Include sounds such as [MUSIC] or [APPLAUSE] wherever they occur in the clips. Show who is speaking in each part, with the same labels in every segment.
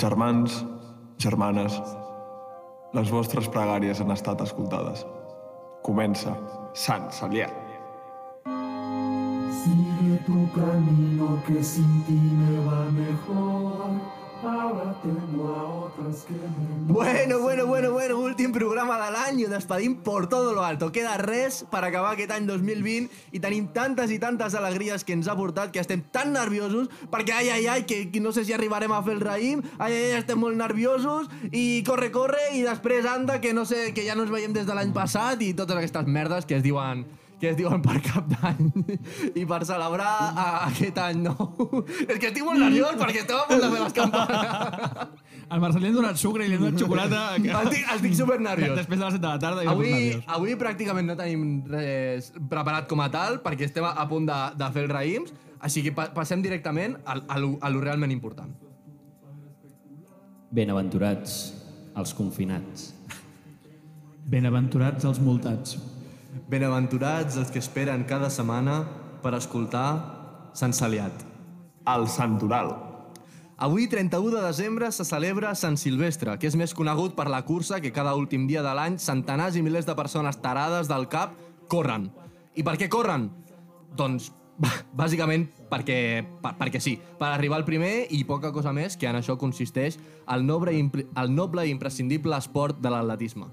Speaker 1: Germans, germanes, les vostres pregàries han estat escoltades. Comença Sant Salià.
Speaker 2: Sigue tu camino que sin ti me va mejor. Ahora tengo a otras que me
Speaker 3: Bueno, bueno, bueno, bueno, últim programa de l'any i ho despedim per tot lo alto. Queda res per acabar aquest any 2020 i tenim tantes i tantes alegries que ens ha portat que estem tan nerviosos perquè, ai, ai, ai, que, que no sé si arribarem a fer el raïm, ai, ai, estem molt nerviosos i corre, corre i després anda que no sé, que ja no ens veiem des de l'any passat i totes aquestes merdes que es diuen que es diuen per cap d'any i per celebrar a, aquest any nou. [LAUGHS] És que estic molt nerviós perquè estem a punt de fer les campanes.
Speaker 4: Al Marcel li han donat sucre i li han donat xocolata. Que...
Speaker 3: estic, estic super nerviós.
Speaker 4: Després de les 7 de la tarda. i
Speaker 3: Avui,
Speaker 4: nerviós.
Speaker 3: avui pràcticament no tenim res preparat com a tal, perquè estem a, a punt de, de fer els raïms, així que pa passem directament a, a, lo, a lo realment important.
Speaker 5: Benaventurats els confinats.
Speaker 4: Benaventurats els multats.
Speaker 3: Benaventurats els que esperen cada setmana per escoltar Sant Saliat.
Speaker 1: El Santoral.
Speaker 3: Avui, 31 de desembre, se celebra Sant Silvestre, que és més conegut per la cursa que cada últim dia de l'any centenars i milers de persones tarades del cap corren. I per què corren? Doncs, [LAUGHS] bà- bàsicament, perquè, per, perquè sí. Per arribar al primer i poca cosa més, que en això consisteix el noble, i impre- el noble i imprescindible esport de l'atletisme.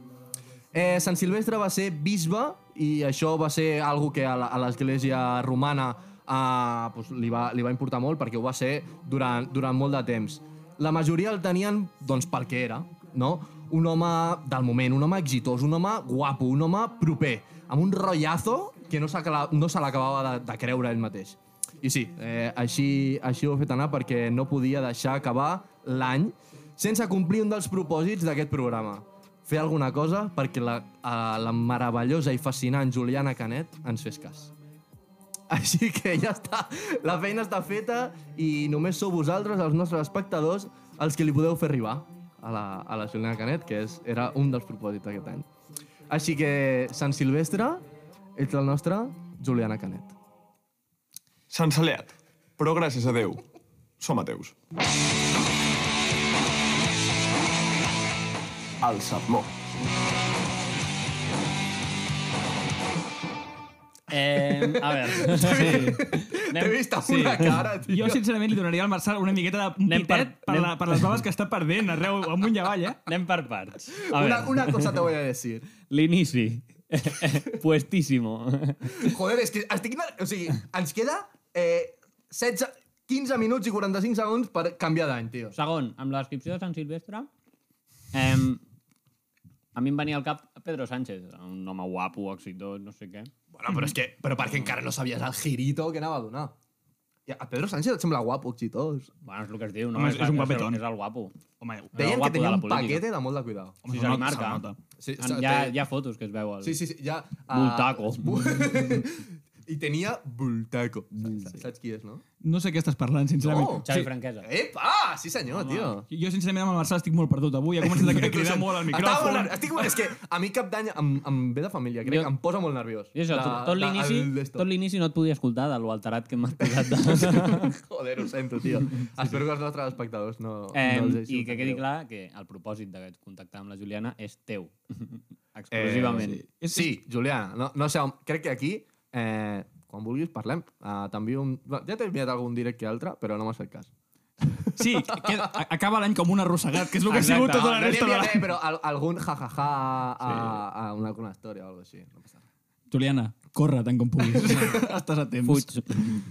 Speaker 3: Eh, Sant Silvestre va ser bisbe i això va ser algo que a la- a l'església romana eh, pues, li, va, li va importar molt perquè ho va ser durant, durant molt de temps. La majoria el tenien doncs, pel que era, no? un home del moment, un home exitós, un home guapo, un home proper, amb un rotllazo que no, s'acala- no se l'acabava de, de creure ell mateix. I sí, eh, així, així ho he fet anar perquè no podia deixar acabar l'any sense complir un dels propòsits d'aquest programa. Fer alguna cosa perquè la, a, la meravellosa i fascinant Juliana Canet ens fes cas. Així que ja està, la feina està feta i només sou vosaltres, els nostres espectadors, els que li podeu fer arribar a la, a la Juliana Canet, que és, era un dels propòsits d'aquest any. Així que, Sant Silvestre, ets el nostre Juliana Canet.
Speaker 1: Sant Saliat. Però gràcies a Déu, som ateus. El sermó.
Speaker 5: Eh, a veure...
Speaker 3: T'he vist amb sí. una cara, tio.
Speaker 4: Jo, sincerament, li donaria al Marçal una miqueta de un
Speaker 5: Anem per-
Speaker 4: pitet per, la,
Speaker 5: anem-
Speaker 4: per les baves que està perdent arreu, amunt i avall, eh?
Speaker 5: Anem per parts. A veure,
Speaker 3: Una, una cosa te voy a decir.
Speaker 5: l'inici. [LAUGHS] Puestíssimo.
Speaker 3: Joder, és que estic... ner- O sigui, ens queda eh, 16, 15 minuts i 45 segons per canviar d'any, tio.
Speaker 5: Segon, amb la descripció de Sant Silvestre, em, a mi em venia al cap Pedro Sánchez, un home guapo, exitós, no sé què.
Speaker 3: Bueno, però és que... Però perquè encara no sabies el girito que anava a donar. I a Pedro Sánchez et sembla guapo, exitós.
Speaker 5: Bueno, és el que es diu, no?
Speaker 4: Home, és- és un guapetón.
Speaker 5: És, el- és el guapo.
Speaker 4: Home, home,
Speaker 3: Deien
Speaker 5: guapo
Speaker 3: que
Speaker 5: de
Speaker 3: tenia
Speaker 5: la
Speaker 3: un eh?
Speaker 5: política.
Speaker 3: paquete de molt de cuidado.
Speaker 5: Si
Speaker 4: se
Speaker 5: se li
Speaker 4: nota,
Speaker 5: marca.
Speaker 4: se nota.
Speaker 3: Sí,
Speaker 5: Em-
Speaker 3: se-
Speaker 5: hi, ha,
Speaker 3: té-
Speaker 5: hi ha fotos que es veu. El...
Speaker 3: Sí, sí, sí, ja... ah,
Speaker 5: Bultaco.
Speaker 3: [LAUGHS] bu- I tenia Bultaco. Saps, saps qui és, no?
Speaker 4: No sé què estàs parlant, sincerament.
Speaker 3: No.
Speaker 5: Xavi Franquesa.
Speaker 3: Epa! Sí, senyor, tio.
Speaker 4: Jo, sincerament, amb el Marçal estic molt perdut avui. Ha començat a cridar molt
Speaker 3: Estava
Speaker 4: al
Speaker 3: molt
Speaker 4: micròfon.
Speaker 3: nerviós. Estic, molt- és que a mi cap d'any em, em ve de família, crec.
Speaker 5: Jo-
Speaker 3: Em posa molt nerviós.
Speaker 5: I això,
Speaker 3: De-
Speaker 5: tot- tot
Speaker 3: de-
Speaker 5: l'inici
Speaker 3: el d'esto.
Speaker 5: tot l'inici no et podia escoltar de lo alterat que m'has posat.
Speaker 3: [LAUGHS]
Speaker 5: De...
Speaker 3: Joder, ho sento, tio. Espero que els nostres espectadors no,
Speaker 5: eh,
Speaker 3: no els deixin
Speaker 5: I que
Speaker 3: tan
Speaker 5: quedi
Speaker 3: greu.
Speaker 5: clar que el propòsit de contactar amb la Juliana és teu. Exclusivament. Eh,
Speaker 3: Eh, sí. sí, Juliana, no, no sé, on- crec que aquí, eh, quan vulguis, parlem. Uh, T'envio un... va, Ja t'he enviat algun directe que altre, però no m'has fet cas.
Speaker 4: Sí, que, a- acaba l'any com un arrossegat, que és el que ha sigut
Speaker 5: Exacte.
Speaker 4: tota la
Speaker 3: no
Speaker 4: resta de
Speaker 3: enviat, eh,
Speaker 4: l'any.
Speaker 3: però al, algun jajaja ja, a, a, una, una història o alguna així. No passa res.
Speaker 4: Juliana, corre tant com puguis. Estàs a temps.
Speaker 5: Fuig.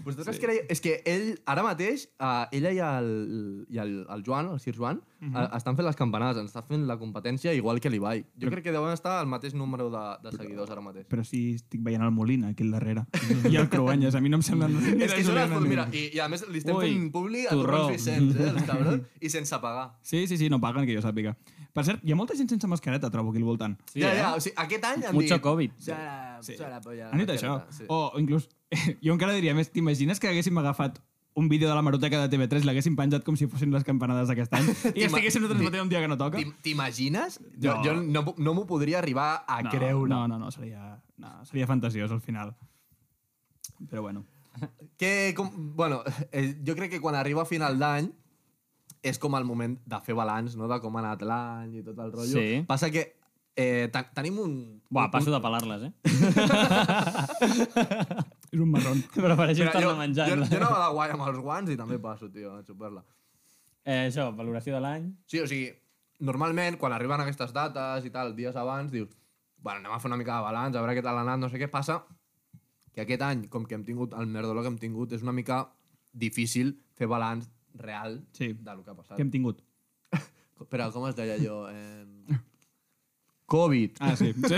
Speaker 3: Vosaltres sí. creieu... És que ell, ara mateix, uh, ella i el, i el, el Joan, el Sir Joan, uh -huh. estan fent les campanades, ens està fent la competència igual que l'Ibai. Jo crec que deuen estar al mateix número de, de seguidors ara mateix.
Speaker 4: Però sí, estic veient el Molina, aquí al darrere. I el Cruanyes, a mi no em sembla... Ni
Speaker 3: És
Speaker 4: de
Speaker 3: que són les...
Speaker 4: Juliana ni-
Speaker 3: Mira, i, i a més li estem
Speaker 5: Ui,
Speaker 3: Ui, fent publi a
Speaker 5: torró.
Speaker 3: Torrons Vicenç, eh, els cabrons, i sense pagar.
Speaker 4: Sí, sí, sí, no paguen, que jo sàpiga. Per cert, hi ha molta gent sense mascareta, trobo, aquí al voltant.
Speaker 3: Sí, ja,
Speaker 5: eh?
Speaker 3: ja, o sigui, aquest any han
Speaker 5: Mucho
Speaker 3: dit...
Speaker 5: Covid.
Speaker 3: Serà, sí. serà polla.
Speaker 4: Han dit això.
Speaker 3: Ah,
Speaker 4: Oh,
Speaker 3: mascareta", Sí.
Speaker 4: O inclús, [LAUGHS] jo encara diria més, t'imagines que haguéssim agafat un vídeo de la maroteca de TV3 i l'haguéssim penjat com si fossin les campanades d'aquest
Speaker 3: [LAUGHS]
Speaker 4: any i
Speaker 3: T'ima-
Speaker 4: estiguéssim nosaltres
Speaker 3: ti-
Speaker 4: mateix un dia que no toca?
Speaker 3: T'im- T'imagines? Jo,
Speaker 4: No.
Speaker 3: jo no, pu- no m'ho podria arribar a
Speaker 4: No,
Speaker 3: creure.
Speaker 4: No, no, no, seria, no, seria fantasiós al final. Però bueno.
Speaker 3: [LAUGHS] Que, com, bueno, eh, jo crec que quan arriba a final d'any és com el moment de fer balanç, no? de com ha anat l'any i tot el rotllo.
Speaker 5: Sí.
Speaker 3: Passa que eh, te- tenim un...
Speaker 5: Buah, passo de pelar-les, eh?
Speaker 4: És un marrón.
Speaker 5: Prefereixo
Speaker 3: Mira,
Speaker 5: estar-la menjant.
Speaker 3: jo, jo anava de guai amb els guants i també passo, tio, a xupar-la.
Speaker 5: Eh, això, valoració de l'any.
Speaker 3: Sí, o sigui, normalment, quan arriben aquestes dates i tal, dies abans, dius, bueno, anem a fer una mica de balanç, a veure què tal ha anat, no sé què passa, que aquest any, com que hem tingut el merdoló que hem tingut, és una mica difícil fer balanç real
Speaker 4: Sí.
Speaker 3: del que ha passat.
Speaker 4: Que hem tingut.
Speaker 3: Però com es deia [LAUGHS] jo? Eh... Covid. [LAUGHS]
Speaker 4: Ah, sí. sí.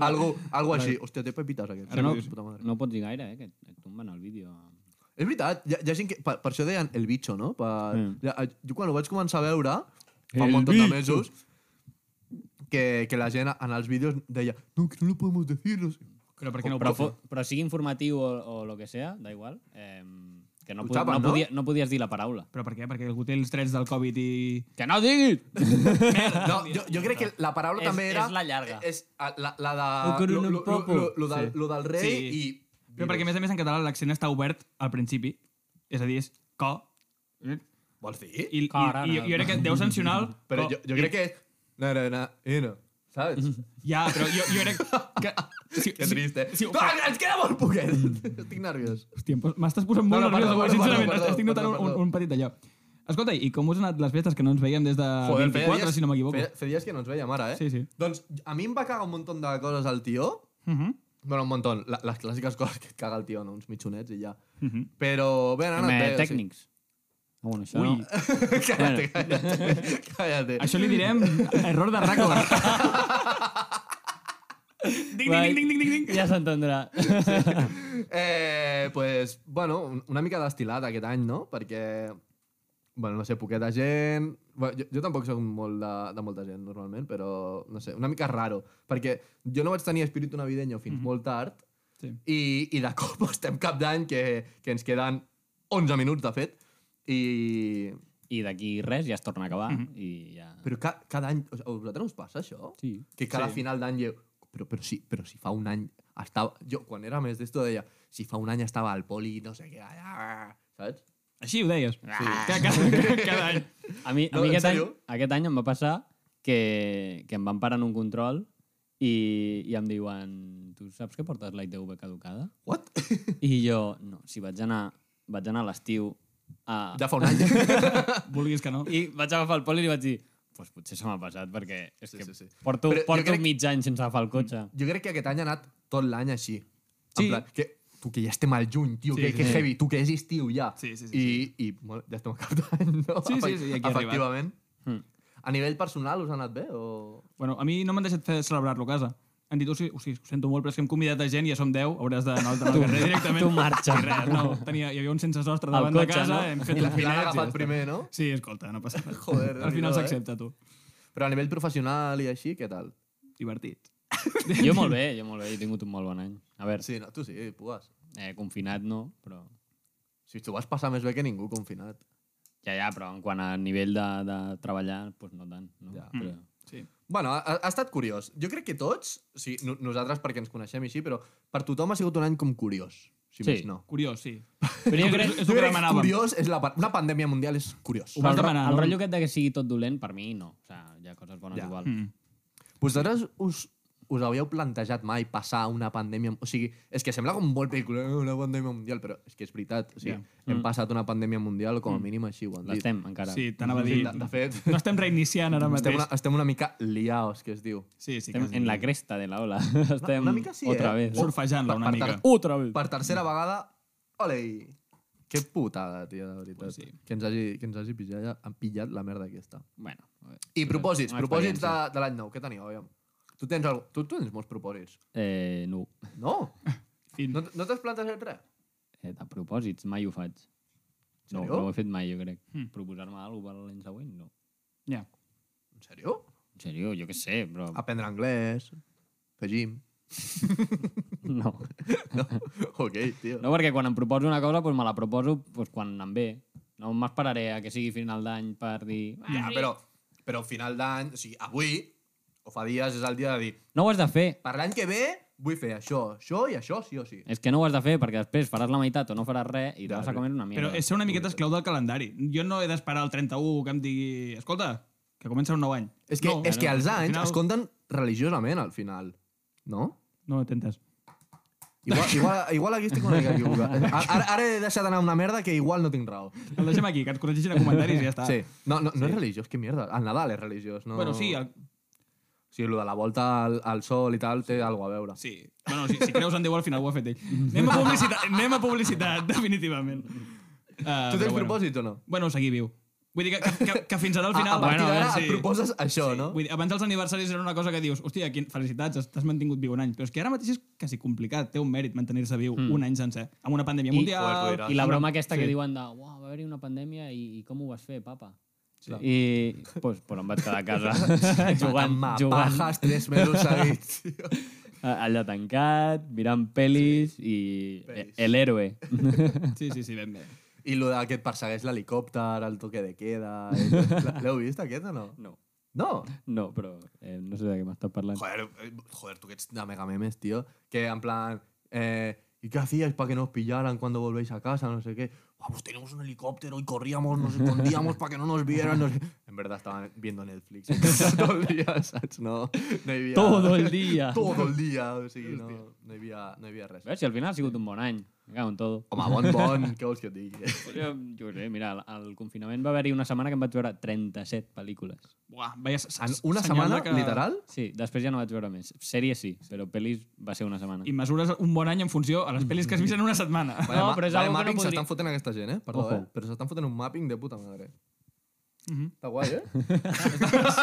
Speaker 3: Algo, algo així. Hòstia, té pepites aquest.
Speaker 4: Ara no-
Speaker 3: Puta madre.
Speaker 5: No ho pots dir gaire, eh? Que et- et tomben el vídeo.
Speaker 3: És veritat, hi ha, hi ha gent que... Per, per això deien el bitxo, no? Per,
Speaker 5: Mm.
Speaker 3: ja, jo quan ho vaig començar a veure, fa
Speaker 4: El
Speaker 3: un munt de
Speaker 4: bitxo.
Speaker 3: mesos, que, que la gent en els vídeos deia no, que no lo podemos decir. No sé.
Speaker 4: Però per què no ho
Speaker 5: però,
Speaker 4: puc fer?
Speaker 5: fo- però sigui informatiu o, o lo que sea, da igual. Eh, que no,
Speaker 3: Ho
Speaker 5: pod
Speaker 3: tapen,
Speaker 5: no,
Speaker 3: no?
Speaker 5: podia, no podies dir la paraula.
Speaker 4: Però per què? Perquè algú té els drets del Covid i...
Speaker 5: Que no diguis!
Speaker 4: [LAUGHS]
Speaker 3: No, jo, jo crec que la paraula
Speaker 5: És-
Speaker 3: també era...
Speaker 5: és la llarga.
Speaker 3: És ah, la, la
Speaker 4: O
Speaker 3: de...
Speaker 4: Oh, que era
Speaker 3: Lo,
Speaker 4: un
Speaker 3: lo, lo,
Speaker 4: popo.
Speaker 3: lo, lo, del,
Speaker 4: Sí.
Speaker 3: lo del rei
Speaker 4: Sí.
Speaker 3: i...
Speaker 4: Però perquè, a més a més, en català l'accent està obert al principi. És a dir, és co...
Speaker 3: Vols dir?
Speaker 4: I, i,
Speaker 5: Carana.
Speaker 4: i, jo crec que deu sancionar el...
Speaker 3: Però
Speaker 4: co-
Speaker 3: jo, jo crec que és... Na, na, na, i no. Saps? [LAUGHS]
Speaker 4: Ja, però jo, jo crec que... Si,
Speaker 3: Que trist, eh?
Speaker 4: Si, si,
Speaker 3: ah, ens queda molt poquet! [LAUGHS] Estic nerviós.
Speaker 4: Hòstia, em pos- m'estàs posant molt
Speaker 3: No, no,
Speaker 4: no, no, nerviós,
Speaker 3: perdó,
Speaker 4: avui,
Speaker 3: perdó, perdó,
Speaker 4: sincerament. Perdó,
Speaker 3: perdó,
Speaker 4: estic notant
Speaker 3: perdó,
Speaker 4: un,
Speaker 3: perdó.
Speaker 4: un, petit d'allò. Escolta, i com us han anat les festes que no ens veiem des de
Speaker 3: Joder, feia
Speaker 4: 24,
Speaker 3: dies-
Speaker 4: Ah, si no m'equivoco?
Speaker 3: Feia, feia dies que no ens veiem ara, eh?
Speaker 4: Sí, sí.
Speaker 3: Doncs a mi em va cagar un munt de coses el tio.
Speaker 4: Uh -huh.
Speaker 3: Bueno, un munt. La, les clàssiques coses que et caga el tio, no? Uns mitjonets i ja. Però bé, han anat
Speaker 5: Home,
Speaker 3: bé.
Speaker 5: tècnics. Ah, bueno, això...
Speaker 4: Ui,
Speaker 5: no.
Speaker 3: O sigui, cállate, cállate. cállate.
Speaker 4: [LAUGHS] això li direm error de rècord. ding, ding, ding, ding, ding, ding.
Speaker 5: Ja s'entendrà.
Speaker 3: Eh, pues, bueno, un- una mica destilat aquest any, no? Perquè, bueno, no sé, poqueta gent... Bueno, jo, jo tampoc soc molt de, de molta gent, normalment, però, no sé, una mica raro. Perquè jo no vaig tenir espíritu navideño fins mm -hmm. molt tard
Speaker 4: Sí.
Speaker 3: i, i de cop [LAUGHS] estem cap d'any que, que ens queden 11 minuts, de fet, i...
Speaker 5: I d'aquí res ja es torna a acabar. I ja...
Speaker 3: Però ca, cada any... O sigui, a vosaltres us passa això?
Speaker 5: Sí.
Speaker 3: Que cada sí. final d'any... jo- Però, però, sí, però si fa un any estava... Jo, quan era més d'esto, deia si fa un any estava al poli, no sé què... allà", Saps?
Speaker 4: Així ho deies. Sí. Cada, cada, cada any.
Speaker 5: A mi, a
Speaker 3: No,
Speaker 5: mi
Speaker 3: en
Speaker 5: aquest, any,
Speaker 3: sèrio?
Speaker 5: aquest any em va passar que, que em van parar en un control i, i em diuen tu saps que portes la ITV caducada?
Speaker 3: What?
Speaker 5: I jo, no, si vaig anar, vaig anar a l'estiu a...
Speaker 3: [LAUGHS] Ja fa un any. [LAUGHS]
Speaker 4: Vulguis que no.
Speaker 5: I vaig agafar el pol i li vaig dir pues potser se m'ha passat perquè és
Speaker 3: Sí,
Speaker 5: que
Speaker 3: sí, sí.
Speaker 5: porto,
Speaker 3: Però jo
Speaker 5: porto
Speaker 3: crec-
Speaker 5: crec... mig any sense agafar el cotxe.
Speaker 3: jo crec que aquest any ha anat tot l'any així. Sí.
Speaker 4: Sí.
Speaker 3: En plan, que, tu, que ja estem al juny, tio,
Speaker 4: Sí,
Speaker 3: sí, que,
Speaker 4: sí,
Speaker 3: que
Speaker 4: sí.
Speaker 3: heavy, tu, que és estiu ja.
Speaker 4: Sí, sí, sí,
Speaker 3: I, i bueno, ja estem al cap d'any, no?
Speaker 4: Sí, sí, sí, aquí ha arribat. Hmm.
Speaker 3: Efectivament.
Speaker 5: Mm.
Speaker 3: A nivell personal us ha anat bé? O...
Speaker 4: Bueno, a mi no m'han deixat fer celebrar-lo a casa. Han dit, o sigui, o sigui, ho sento molt, però és que hem convidat a gent i ja som 10, hauràs d'anar [LAUGHS] al al carrer
Speaker 3: Mm.
Speaker 4: directament.
Speaker 5: tu marxa.
Speaker 3: [LAUGHS]
Speaker 4: I res, no, tenia, hi havia un sense sostre
Speaker 5: El
Speaker 4: davant
Speaker 5: cotxe,
Speaker 4: de casa,
Speaker 5: no?
Speaker 4: hem fet
Speaker 3: I
Speaker 4: la
Speaker 3: l'han
Speaker 4: fila.
Speaker 3: agafat primer, no?
Speaker 4: Sí, escolta, no passa res.
Speaker 3: Joder,
Speaker 4: [LAUGHS] Al final
Speaker 3: Déu-n'hi-do, eh?
Speaker 4: s'accepta, tu.
Speaker 3: Però a nivell professional i així, què tal?
Speaker 4: Divertit.
Speaker 5: Jo molt bé, jo molt bé, he tingut un molt bon any. A veure, sí.
Speaker 3: Sí, no, tu sí, pugues.
Speaker 5: eh, confinat no, però...
Speaker 3: Si tu vas passar més bé que ningú confinat.
Speaker 5: Ja, ja, però en quant a nivell de, de treballar, doncs no tant. No?
Speaker 3: Ja. Mm.
Speaker 5: Però...
Speaker 4: Sí.
Speaker 3: Bueno, ha, ha estat curiós. Jo crec que tots, o sigui, no, nosaltres perquè ens coneixem i així, però per tothom ha sigut un any com curiós, si
Speaker 5: Sí.
Speaker 3: més no.
Speaker 4: Curiós, sí.
Speaker 5: Però jo crec...
Speaker 4: És
Speaker 3: Jo
Speaker 4: el que
Speaker 3: crec que
Speaker 4: demanàvem.
Speaker 3: curiós és la, pa- una pandèmia mundial és curiós.
Speaker 4: Ho vas
Speaker 5: el,
Speaker 4: demanar,
Speaker 5: el
Speaker 4: no?
Speaker 5: rotllo aquest de que sigui tot dolent, per mi, no. O sigui, hi ha coses bones
Speaker 3: Ja.
Speaker 5: ja. igual.
Speaker 4: Mm.
Speaker 3: Vosaltres us, us hauríeu plantejat mai passar una pandèmia... O sigui, és que sembla com molt pel·lícula, "Eh, una pandèmia mundial, però és que és veritat. O sigui,
Speaker 4: Ja.
Speaker 3: yeah. hem passat una pandèmia mundial, com a mínim així ho han dit.
Speaker 5: L'estem, encara.
Speaker 4: Sí, Mm. t'anava a
Speaker 3: Sí,
Speaker 4: dir...
Speaker 3: de, de fet,
Speaker 4: No estem reiniciant ara
Speaker 3: estem
Speaker 4: mateix.
Speaker 3: una, estem una mica liaos, que es diu.
Speaker 4: Sí, sí.
Speaker 5: Estem
Speaker 4: quasi.
Speaker 5: en la cresta de la ola. Estem
Speaker 3: una mica sí,
Speaker 5: otra
Speaker 3: eh?
Speaker 5: vez.
Speaker 3: Surt
Speaker 4: Surfejant-la una
Speaker 3: Per- per
Speaker 4: mica.
Speaker 3: tant-
Speaker 5: Otra vez.
Speaker 3: Per tercera vegada, olei! Que putada, tio, de veritat.
Speaker 4: Pues sí.
Speaker 3: que, ens hagi, que ens hagi pillat, han pillat la merda aquesta.
Speaker 5: Bueno, a veure.
Speaker 3: I propòsits,
Speaker 5: una
Speaker 3: propòsits de,
Speaker 5: experiència.
Speaker 3: de l'any nou, què teniu? Aviam. Tu tens, algo, tu, tu tens molts propòsits.
Speaker 5: eh, no.
Speaker 3: No?
Speaker 4: Fin.
Speaker 3: No, no t'has plantejat res?
Speaker 5: Eh, de propòsits, mai ho faig. No,
Speaker 3: Seriós?
Speaker 5: no ho he fet mai, jo crec. Mm. Proposar-me alguna cosa per l'any següent, no.
Speaker 4: Ja.
Speaker 3: En sèrio?
Speaker 5: En sèrio, jo què sé, però...
Speaker 3: Aprendre anglès, fer gym.
Speaker 5: [LAUGHS] No.
Speaker 3: No? [LAUGHS] ok, tio.
Speaker 5: no, perquè quan em proposo una cosa, doncs me la proposo doncs, quan em ve. No m'esperaré a que sigui final d'any per dir... "Ah,
Speaker 3: Ja, però, però final d'any, o sigui, avui, o fa dies, és el dia de dir,
Speaker 5: No ho has de fer.
Speaker 3: per l'any que ve vull fer això, això i això, sí o sí.
Speaker 5: És que no ho has de fer perquè després faràs la meitat o no faràs res i te
Speaker 3: Ja,
Speaker 5: vas a
Speaker 3: però-
Speaker 5: comer una
Speaker 4: Però
Speaker 5: mierda.
Speaker 4: és ser una miqueta esclau del calendari. Jo no he d'esperar el 31 que em digui... Escolta, que comença un nou any.
Speaker 3: És que,
Speaker 4: no,
Speaker 3: no, és que
Speaker 4: no,
Speaker 3: els
Speaker 4: al
Speaker 3: anys
Speaker 4: final-
Speaker 3: es compten religiosament, al final. No?
Speaker 4: [LAUGHS] No, t'entes.
Speaker 3: Igual, igual, igual aquí estic una mica equivocat.
Speaker 4: [LAUGHS]
Speaker 3: Ara, ara he deixat anar una merda que igual no tinc raó.
Speaker 4: El deixem aquí, que ens corregeixin a comentaris i ja està.
Speaker 3: Sí. No, no, no és religiós, que mierda. El Nadal és religiós, no...
Speaker 4: Bueno, sí, el...
Speaker 3: Sí, lo de la volta al, al sol i tal té alguna a veure.
Speaker 4: sí. Bueno, si, si creus en Déu, al final ho ha fet ell. Anem a
Speaker 3: [LAUGHS]
Speaker 4: publicitat, anem a publicitat [LAUGHS] definitivament. Uh,
Speaker 3: tu tens propòsit o no?
Speaker 4: Bueno, seguir viu. Vull dir que, que, que, que fins ara al final...
Speaker 3: a, a partir
Speaker 5: bueno,
Speaker 3: d'ara
Speaker 4: sí.
Speaker 3: et proposes això, no?
Speaker 4: Vull dir, abans dels aniversaris era una cosa que dius, hòstia, quin... felicitats, t'has mantingut viu un any. Però és que ara mateix és quasi complicat, té un mèrit mantenir-se viu
Speaker 5: Mm.
Speaker 4: un any sencer. Amb una pandèmia
Speaker 5: I-
Speaker 4: mundial...
Speaker 5: I la broma aquesta
Speaker 4: Sí.
Speaker 5: que diuen de uau, va haver-hi una pandèmia i, i com ho vas fer, papa?
Speaker 4: Sí.
Speaker 5: I pues, pues em vaig quedar a casa [LAUGHS] jugant,
Speaker 3: Amb
Speaker 5: jugant
Speaker 3: mapajas tres
Speaker 4: [LAUGHS]
Speaker 3: mesos seguits.
Speaker 5: a- allà tancat, mirant pel·lis i
Speaker 3: Pel·lis.
Speaker 5: el héroe.
Speaker 4: [LAUGHS]
Speaker 5: [LAUGHS]
Speaker 4: Sí, sí, sí, ben bé.
Speaker 3: I lo de que et persegueix l'helicòpter, el toque de queda... i
Speaker 4: [LAUGHS]
Speaker 3: tot. L'heu vist, aquest, o no?
Speaker 5: No,
Speaker 3: No?
Speaker 5: no, però eh, no sé de què m'estàs parlant.
Speaker 3: Joder, eh, joder, tú que ets de mega memes, tío. Que en plan. eh, ¿Y qué hacíais para que nos pillaran cuando volvéis a casa? No sé qué. Ah, pues teníamos un helicóptero y corríamos, nos escondíamos para que no nos vieran. no sé- En verdad estaban viendo Netflix [LAUGHS] en casa todo el día, ¿sabes? No, no había-
Speaker 5: [LAUGHS] Todo el día.
Speaker 3: Todo el día, o sigui, no, no había, no había res.
Speaker 5: Veus, si al final ha sigut un bon any. Me cago en todo.
Speaker 3: Home, bon, bon, què vols que et digui?
Speaker 5: [LAUGHS] Pues Jo, jo sé, mira, al- al confinament va haver-hi una setmana que em vaig veure 37 pel·lícules.
Speaker 4: Buah, veia, s-
Speaker 3: En
Speaker 4: s-
Speaker 3: una
Speaker 4: senyal
Speaker 3: setmana,
Speaker 4: de que-
Speaker 3: literal?
Speaker 5: Sí, després ja no vaig veure més. Sèries sí, però pel·lis va ser una setmana.
Speaker 4: I mesures un bon any en funció a les pel·lis que has vist en una setmana.
Speaker 5: Bueno,
Speaker 3: ma-
Speaker 5: però és algo que no
Speaker 3: mapping
Speaker 5: podria-
Speaker 3: s'estan fotent aquesta gent, eh? Perdó,
Speaker 5: Ojo.
Speaker 3: eh? Però s'estan fotent un mapping de puta madre.
Speaker 4: Mhm.
Speaker 3: Està guai, eh?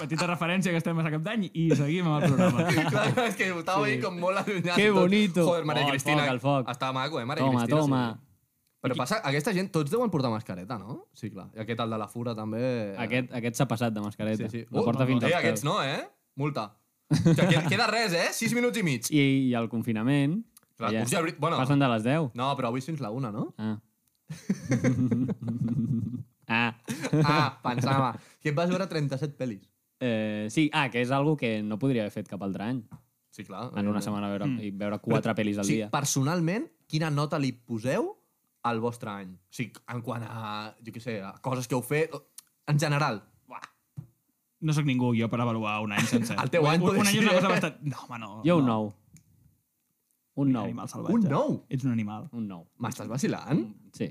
Speaker 4: Petita referència que estem a cap d'any i seguim amb el
Speaker 5: [LAUGHS]
Speaker 4: programa.
Speaker 3: Claro, es que estaba ahí con mola allunyada.
Speaker 5: Que
Speaker 3: i tot.
Speaker 5: bonito.
Speaker 3: Joder, Maria
Speaker 5: Oh, el
Speaker 3: Cristina.
Speaker 5: foc, el foc.
Speaker 3: Estava maco, eh, Maria
Speaker 5: Toma,
Speaker 3: Cristina.
Speaker 5: toma.
Speaker 3: Sí. Però passa, aquesta gent, tots deuen portar mascareta, no? Sí, clar. I aquest, el de la fura, també...
Speaker 5: Aquest, aquest s'ha passat de mascareta.
Speaker 3: Sí, sí.
Speaker 5: La porta fins
Speaker 3: eh,
Speaker 5: als
Speaker 3: aquests
Speaker 5: peus.
Speaker 3: no, eh? Multa. Que queda, queda res, eh? 6 minuts i mig.
Speaker 5: I, I al confinament...
Speaker 3: Clar,
Speaker 5: que
Speaker 3: curs i abril- bueno.
Speaker 5: Passen de les 10.
Speaker 3: No, però avui és fins la una, no? [LAUGHS]
Speaker 5: Ah. ah.
Speaker 3: Ah, pensava. Que et vas veure 37 pel·lis.
Speaker 5: Eh, sí, ah, que és algo que no podria haver fet cap altre any.
Speaker 3: Sí, clar.
Speaker 5: En una setmana veure, i veure quatre pel·lis
Speaker 3: Eh.
Speaker 5: al
Speaker 3: Mm. sí,
Speaker 5: dia.
Speaker 3: personalment, quina nota li poseu al vostre any? O sigui, en quant a, jo què sé, a coses que heu fet, en general.
Speaker 4: No sóc ningú jo per avaluar un any sencer.
Speaker 3: El teu any,
Speaker 4: un, un
Speaker 3: poder
Speaker 4: any és
Speaker 3: ser.
Speaker 4: una cosa bastant... No, home, no.
Speaker 5: Jo un
Speaker 4: no.
Speaker 5: 9. Un
Speaker 4: Animal
Speaker 5: 9.
Speaker 4: salvatge.
Speaker 3: Un nou?
Speaker 4: Ets un animal.
Speaker 5: Un 9.
Speaker 3: M'estàs vacilant?
Speaker 4: Mm.
Speaker 5: Sí.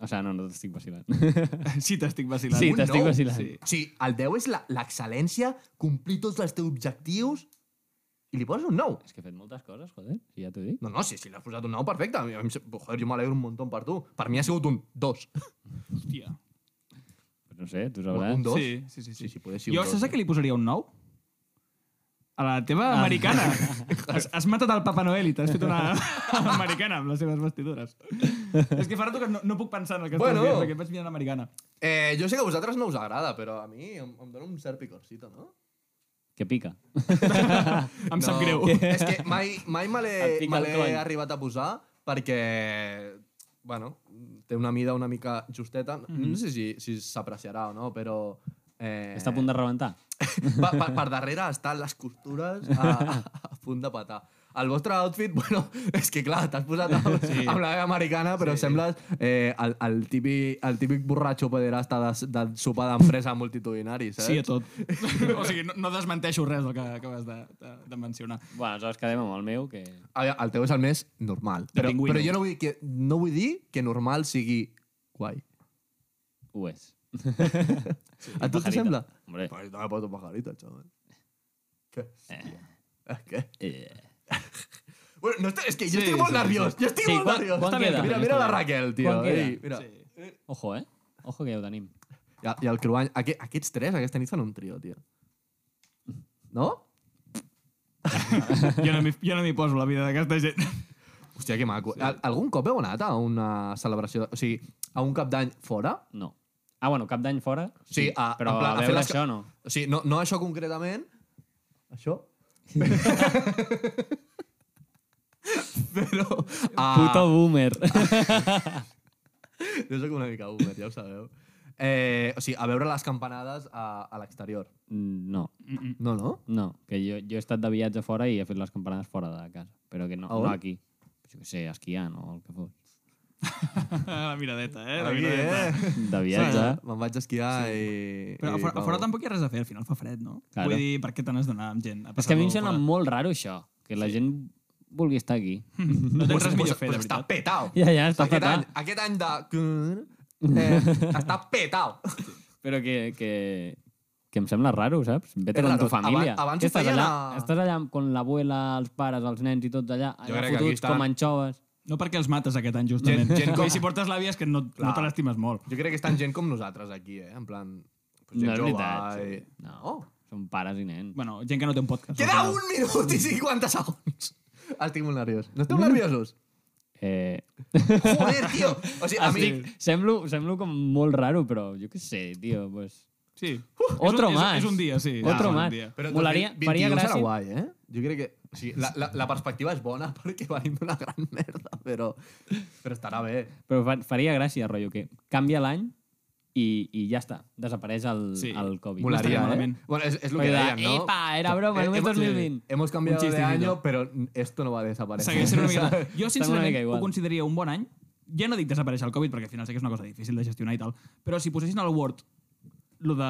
Speaker 5: O sigui, no, no t'estic vacilant.
Speaker 3: Ah.
Speaker 4: [LAUGHS] Sí, t'estic vacilant.
Speaker 5: sí,
Speaker 3: Un
Speaker 5: t'estic
Speaker 3: nou?
Speaker 5: vacilant.
Speaker 4: Sí.
Speaker 3: Eh, Sí, el 10 és la- l'excel·lència, complir tots els teus objectius i li poses un 9.
Speaker 5: És que he fet moltes coses, joder, si ja t'ho dic.
Speaker 3: No, no, sí, si l'has posat un 9, perfecte. A mi em se- Joder, jo m'alegro un muntó per tu. Per mi ha sigut un 2.
Speaker 4: Hòstia.
Speaker 5: Però no sé, tu sabràs.
Speaker 3: Un 2?
Speaker 4: Sí, sí, sí.
Speaker 3: Sí, sí, poder ser un
Speaker 4: jo
Speaker 3: dos,
Speaker 4: saps
Speaker 3: eh?
Speaker 4: a què li posaria un 9? A la teva
Speaker 5: Ah.
Speaker 4: americana.
Speaker 5: [LAUGHS]
Speaker 4: has, has matat el Papa Noel i t'has fet una [LAUGHS] americana amb les seves vestidures.
Speaker 3: [LAUGHS]
Speaker 4: És que fa rato que no, no puc pensar en el que
Speaker 3: Bueno.
Speaker 4: estàs dient, perquè vaig mirant l'americana.
Speaker 3: Eh, jo sé que a vosaltres no us agrada, però a mi em, em dona un cert picorcito, no?
Speaker 5: Que pica.
Speaker 4: Em no.
Speaker 3: No,
Speaker 4: sap greu.
Speaker 3: [LAUGHS] És que mai, mai me
Speaker 5: Et
Speaker 3: l'he
Speaker 5: pica
Speaker 3: me
Speaker 5: el
Speaker 3: l'he
Speaker 5: coll.
Speaker 3: arribat a posar perquè, bueno, té una mida una mica justeta.
Speaker 4: Mm-hmm.
Speaker 3: No sé si si s'apreciarà o no, però... Eh,
Speaker 5: Està a punt de rebentar.
Speaker 3: [LAUGHS] per, per, per darrere estan les costures a, a, a punt de patar. El vostre outfit, [LAUGHS] bueno, és que clar, t'has posat amb, sí. amb la veu americana, però sí. sembles eh, el, el, típic, el típic borratxo pederasta de, de sopar d'empresa multitudinari, saps?
Speaker 4: [LAUGHS] Sí a tot. [LAUGHS] o sigui, no, no desmenteixo res del que acabes de, de, de mencionar.
Speaker 5: Bueno, aleshores quedem amb el meu, que...
Speaker 3: A veure, El teu és el més normal.
Speaker 4: De
Speaker 3: Però,
Speaker 4: pingüino.
Speaker 3: però jo no vull, que, no vull dir que normal sigui guai.
Speaker 5: Ho és.
Speaker 3: Sí, a tu què sembla?
Speaker 5: Hombre.
Speaker 3: Pues no me poso pajarita, chaval. Què? Eh. Què?
Speaker 5: Eh.
Speaker 3: Bueno, no, est- és que jo
Speaker 4: Sí,
Speaker 3: estic molt
Speaker 4: sí, sí.
Speaker 3: nerviós. Jo estic
Speaker 5: Sí,
Speaker 3: molt
Speaker 5: quan-
Speaker 3: nerviós.
Speaker 5: quan
Speaker 3: Està
Speaker 5: queda?
Speaker 3: Mira, mira la
Speaker 5: Quan queda?
Speaker 3: Raquel, tio.
Speaker 5: Quan queda?
Speaker 3: Ei, mira.
Speaker 4: Sí.
Speaker 5: Ojo, eh? Ojo que ja ho tenim.
Speaker 3: I, i el Cruany... Aqu aquests tres aquesta nit fan un trio, tio. No?
Speaker 4: Jo no m'hi jo no m'hi poso la vida d'aquesta gent.
Speaker 3: Hòstia, que maco. Sí. Algun cop heu anat a una celebració... O sigui, a un cap d'any fora?
Speaker 5: No. Ah, bueno, cap d'any fora.
Speaker 3: Sí, a,
Speaker 5: però
Speaker 3: en plan,
Speaker 5: a
Speaker 3: fer
Speaker 5: veure
Speaker 3: les ca-
Speaker 5: això no.
Speaker 3: O sigui, no, no això concretament. Això? [LAUGHS] Però... ah, A...
Speaker 5: boomer.
Speaker 3: Jo soc una mica boomer, ja ho sabeu. Eh, o sigui, a veure les campanades a, a l'exterior.
Speaker 5: [LAUGHS] No,
Speaker 3: No, no?
Speaker 5: no, que jo, jo he estat de viatge fora i he fet les campanades fora de casa, però que no,
Speaker 3: A on?
Speaker 5: no aquí. Jo què sé, esquiant o el que fos.
Speaker 4: [LAUGHS] la miradeta, eh? La
Speaker 3: Aquí,
Speaker 4: miradeta.
Speaker 3: eh?
Speaker 5: De viatge...
Speaker 3: Me'n vaig a esquiar i...
Speaker 4: Però a
Speaker 3: i
Speaker 4: fora, a
Speaker 3: vamos.
Speaker 4: fora tampoc hi ha res a fer, al final fa fred, no?
Speaker 5: Claro.
Speaker 4: Vull dir, per què te n'has d'anar amb gent?
Speaker 5: És que a mi em
Speaker 4: passar-ho
Speaker 5: sembla
Speaker 4: fora?
Speaker 5: molt raro això, que la gent vulgui estar aquí.
Speaker 4: No tens res millor
Speaker 3: pues,
Speaker 4: a fer,
Speaker 3: pues
Speaker 4: de
Speaker 3: està
Speaker 4: veritat.
Speaker 3: petao.
Speaker 5: [LAUGHS] Ja, ja, està
Speaker 3: aquest,
Speaker 5: fatal.
Speaker 3: any, aquest any de...
Speaker 5: Mm. [LAUGHS]
Speaker 3: Eh, està petao.
Speaker 5: Però que, que, que em sembla raro, saps? Vete
Speaker 3: És
Speaker 5: amb tu
Speaker 3: raro.
Speaker 5: família.
Speaker 3: Aba- abans
Speaker 5: Que
Speaker 3: ho
Speaker 5: estàs,
Speaker 3: feien
Speaker 5: allà,
Speaker 3: a-
Speaker 5: estàs allà amb l'abuela, els pares, els nens i tots allà, allà
Speaker 3: crec que aquí
Speaker 5: fotuts
Speaker 3: estan-
Speaker 5: com anxoves.
Speaker 4: No perquè els mates aquest any, justament. [LAUGHS]
Speaker 1: Gent- gent
Speaker 4: Vull dir,
Speaker 1: com-
Speaker 4: si portes l'àvia és que no, no
Speaker 3: Clar.
Speaker 4: te l'estimes molt.
Speaker 3: Jo crec que estan gent com nosaltres aquí, eh? En plan... Pues gent
Speaker 5: No és
Speaker 3: jove
Speaker 5: veritat.
Speaker 3: i-
Speaker 5: No,
Speaker 3: Oh.
Speaker 5: són pares i nens.
Speaker 4: Bueno, gent que no té un podcast.
Speaker 3: Queda
Speaker 4: no?
Speaker 3: un minut i 50 segons. Estic molt nerviós. No esteu nerviosos?
Speaker 5: Eh,
Speaker 3: Joder, tio. O sigui, a mi...
Speaker 5: estic, semblo, semblo com molt raro, però jo què sé, tio, pues...
Speaker 4: Sí. És un-
Speaker 5: Otro
Speaker 4: és,
Speaker 5: más.
Speaker 4: És, un dia, sí.
Speaker 5: Otro
Speaker 4: és un
Speaker 5: más.
Speaker 4: dia.
Speaker 3: Però
Speaker 5: Molaria,
Speaker 3: 2021
Speaker 5: faria
Speaker 3: serà
Speaker 5: gràcia.
Speaker 3: guai, eh? Jo crec que... O sigui, la, la, la perspectiva és bona perquè venim d'una gran merda, però, però estarà bé.
Speaker 5: Però fa- faria gràcia, rotllo, que canvia l'any i, i ja està, desapareix el,
Speaker 4: Sí.
Speaker 5: sí. el Covid.
Speaker 4: Molaria,
Speaker 5: No estaria
Speaker 4: eh?
Speaker 5: malament.
Speaker 3: Bueno, es, es lo que
Speaker 5: Oiga,
Speaker 3: decían, ¿no?
Speaker 5: epa, era broma, no es
Speaker 3: Eh, hemos-
Speaker 5: 2020.
Speaker 3: Hemos cambiado
Speaker 4: Un chiste
Speaker 3: de año,
Speaker 4: interno.
Speaker 3: pero esto no va a desaparecer.
Speaker 4: Segueix sent una
Speaker 3: [LAUGHS]
Speaker 4: mica...
Speaker 3: ¿sabes?
Speaker 4: Jo,
Speaker 5: Està una mica
Speaker 4: sincerament, ho
Speaker 5: igual.
Speaker 4: consideraria un bon any. Ja no dic desaparèixer el Covid, perquè al final sé que és una cosa difícil de gestionar i tal, però si posessin al Word lo de...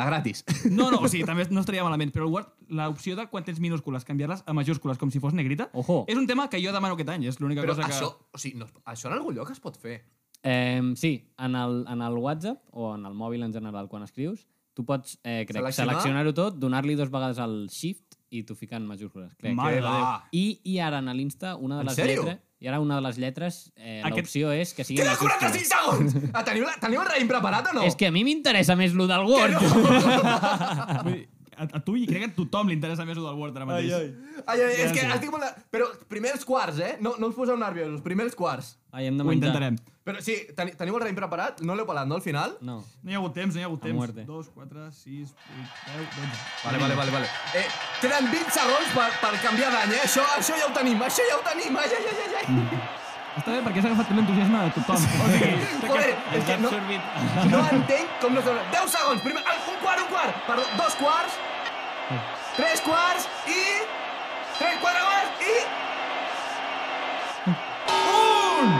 Speaker 3: Da gratis.
Speaker 4: No, no, o sigui, també no estaria malament, però el Word, l'opció de quan tens minúscules, canviar-les a majúscules com si fos negrita,
Speaker 5: Ojo.
Speaker 4: és un tema que jo demano aquest any, és l'única
Speaker 3: Però
Speaker 4: cosa que...
Speaker 3: això, o ah, sigui, no, això en algun lloc es pot fer.
Speaker 5: Eh, sí, en el, en el WhatsApp o en el mòbil en general, quan escrius, tu pots eh, crec,
Speaker 3: Seleccionar.
Speaker 5: seleccionar-ho tot, donar-li dues vegades al shift i tu ficar en majúscules. Crec,
Speaker 4: Mare de
Speaker 5: que-
Speaker 4: Déu.
Speaker 5: I, I ara, en l'Insta, una de
Speaker 3: En
Speaker 5: les
Speaker 3: sèrio?
Speaker 5: lletres... I ara una de les lletres, eh,
Speaker 4: Aquest-
Speaker 5: l'opció és que siguin
Speaker 3: Queda 46
Speaker 5: majúscules.
Speaker 3: segons! Ah, Teniu, la- teniu el raïm preparat o no?
Speaker 5: És que a mi m'interessa més lo del Word.
Speaker 4: [LAUGHS] Vull dir, a, a tu i crec que a tothom li interessa més el del Word ara mateix. Ai, ai.
Speaker 3: Ai, ai, és que
Speaker 4: Gràcies.
Speaker 3: estic molt... de- Però primers quarts, eh? No, no us poseu nerviosos, primers quarts.
Speaker 5: Ai, hem de
Speaker 4: Ho
Speaker 5: menjar.
Speaker 4: intentarem.
Speaker 3: Però sí, teni, teniu el raïm preparat? No l'heu pelat, no, al final?
Speaker 5: No.
Speaker 4: No hi ha hagut temps, no hi ha hagut
Speaker 5: A
Speaker 4: temps.
Speaker 5: muerte.
Speaker 4: 2, 4, 6, 8, 10, 12.
Speaker 3: Vale, vale, vale, vale. Eh, queden 20 segons per, per canviar d'any, eh? Això, això ja ho tenim, això ja ho tenim. Ai, ai, ai, ai, ai.
Speaker 4: Està bé perquè s'ha agafat també l'entusiasme de tothom. O sigui,
Speaker 3: Joder, és que no, no entenc com no... s'ha- 10 segons, primer... ah, Un quart, un quart. Perdó, dos quarts. Tres quarts i... Tres, quatre quarts i... Un!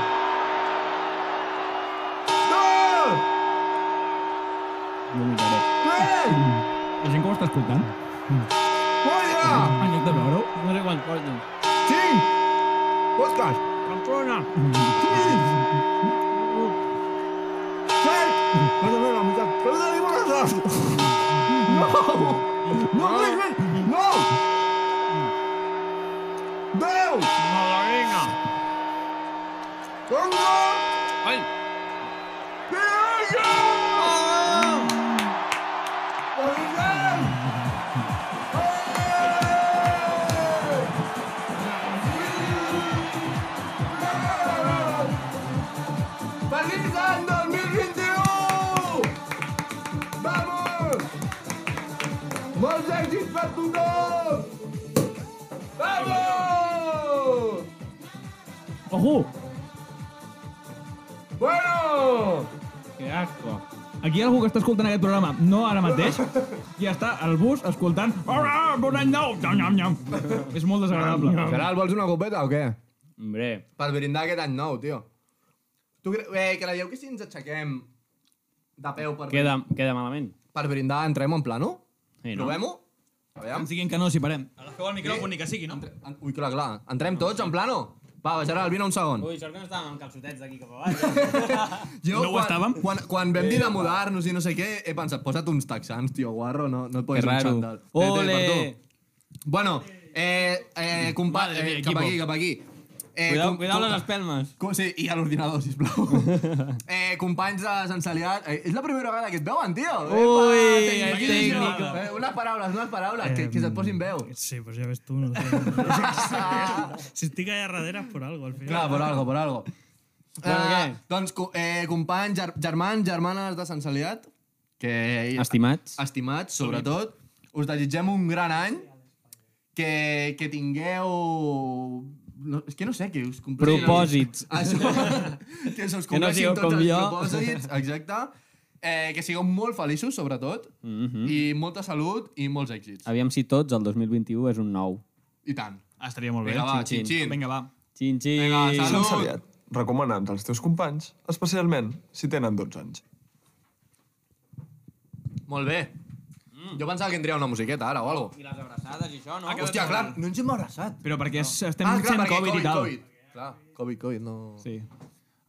Speaker 3: Dos!
Speaker 5: No m'interessa.
Speaker 3: Tres!
Speaker 4: la gent que ho està escoltant,
Speaker 3: Quatre!
Speaker 4: Mm. en lloc de veure-ho,
Speaker 5: No sé quant porten.
Speaker 3: Cinc! Podcast!
Speaker 5: Camprona!
Speaker 3: Set! No te veo la mitad. ¡No te digo las dos! ¡No! ¡No, Luis, Luis! ¡No! ¡Deu!
Speaker 5: Malagueña!
Speaker 3: ¡Congo!
Speaker 5: Ai!
Speaker 3: ¡Diego! ¡Origen! ¡Eh! ¡Feliz año 2021! ¡Vamos! ¡Molts èxits per tothom! ¡Vamos!
Speaker 4: Ojo!
Speaker 3: Bueno!
Speaker 5: Que asco!
Speaker 4: Aquí hi ha algú que està escoltant aquest programa, no ara mateix, i està al bus escoltant Hola, bon any nou! Nyam, nyam, nyam. És molt desagradable.
Speaker 3: Gerard, vols una copeta o què?
Speaker 5: Hombre,
Speaker 3: Per brindar aquest any nou, tio. Tu cre... eh, creieu que si ens aixequem de peu per,
Speaker 5: queda, queda malament.
Speaker 3: per brindar entrem en plano?
Speaker 5: Sí, no?
Speaker 3: Provem-ho? Aviam.
Speaker 4: Ens diguin que no, si parem. Agafeu el micròfon i que sigui, no?
Speaker 3: En- Ui, clar, clar. Entrem tots en plano? Va, va, Gerard, vine un segon.
Speaker 5: Ui, sort que no estàvem amb calçotets d'aquí cap avall. eh?
Speaker 3: Jo,
Speaker 4: No ho
Speaker 3: quan,
Speaker 4: estàvem?
Speaker 3: Quan, quan vam dir de mudar-nos i no sé què, he pensat, posa't uns texans, tio, guarro, no, no et posis
Speaker 5: Que
Speaker 3: un
Speaker 5: raro.
Speaker 3: xandall. Té, té,
Speaker 5: Ole!
Speaker 3: per tu. Bueno, eh, eh, compa...
Speaker 5: Madre mía,
Speaker 3: eh, cap
Speaker 5: equipo.
Speaker 3: aquí, cap aquí. Eh,
Speaker 5: Cuidao,
Speaker 3: com-
Speaker 5: cuidao
Speaker 3: com-
Speaker 5: les espelmes.
Speaker 3: Com, sí, i a l'ordinador, sisplau.
Speaker 5: [LAUGHS]
Speaker 3: eh, companys de Sant Celià, eh, és la primera vegada que et veuen, tio.
Speaker 5: Ui,
Speaker 3: Epa,
Speaker 5: el
Speaker 3: tecnicisme.
Speaker 5: tècnico.
Speaker 3: Eh, unes paraules, unes paraules, que, que se't posin veu.
Speaker 6: Sí, pues ya ves tú. No sé. si estic allà darrere és por algo, al final.
Speaker 3: Clar, per algo, per algo.
Speaker 5: Bueno, què?
Speaker 3: doncs, co- eh, companys, ger germans, germanes de Sant Celiat, que...
Speaker 5: [LAUGHS] Estimats.
Speaker 3: Estimats, sobretot. Us desitgem un gran any, que, que tingueu... No, és que no sé, que us compleixin...
Speaker 5: Propòsits.
Speaker 3: Això, que se us
Speaker 5: [LAUGHS] Que no
Speaker 3: compleixin
Speaker 5: sigueu
Speaker 3: tots
Speaker 5: com
Speaker 3: els
Speaker 5: jo.
Speaker 3: propòsits, exacte. Eh, que sigueu molt feliços, sobretot,
Speaker 5: Mhm.
Speaker 3: i molta salut i molts èxits.
Speaker 5: Aviam si tots el 2021 és un nou.
Speaker 3: I tant.
Speaker 4: Ah, estaria molt bé.
Speaker 3: Vinga, va,
Speaker 5: xin,
Speaker 3: xin-xin.
Speaker 4: Vinga, va.
Speaker 5: Xin, xin.
Speaker 3: Vinga,
Speaker 1: Sant
Speaker 3: salut.
Speaker 1: Saliat, recomana'ns als teus companys, especialment si tenen 12 anys.
Speaker 3: Molt bé.
Speaker 5: Mm.
Speaker 3: Jo pensava que entria una musiqueta ara o alguna cosa.
Speaker 5: I les abraçades i això, no?
Speaker 3: Hòstia, clar, no ens hem abraçat.
Speaker 4: Però perquè es, estem
Speaker 3: Ah, clar,
Speaker 4: fent
Speaker 3: perquè
Speaker 4: Covid, i tal.
Speaker 3: Covid. Clar, Covid, Covid, no...
Speaker 4: Sí.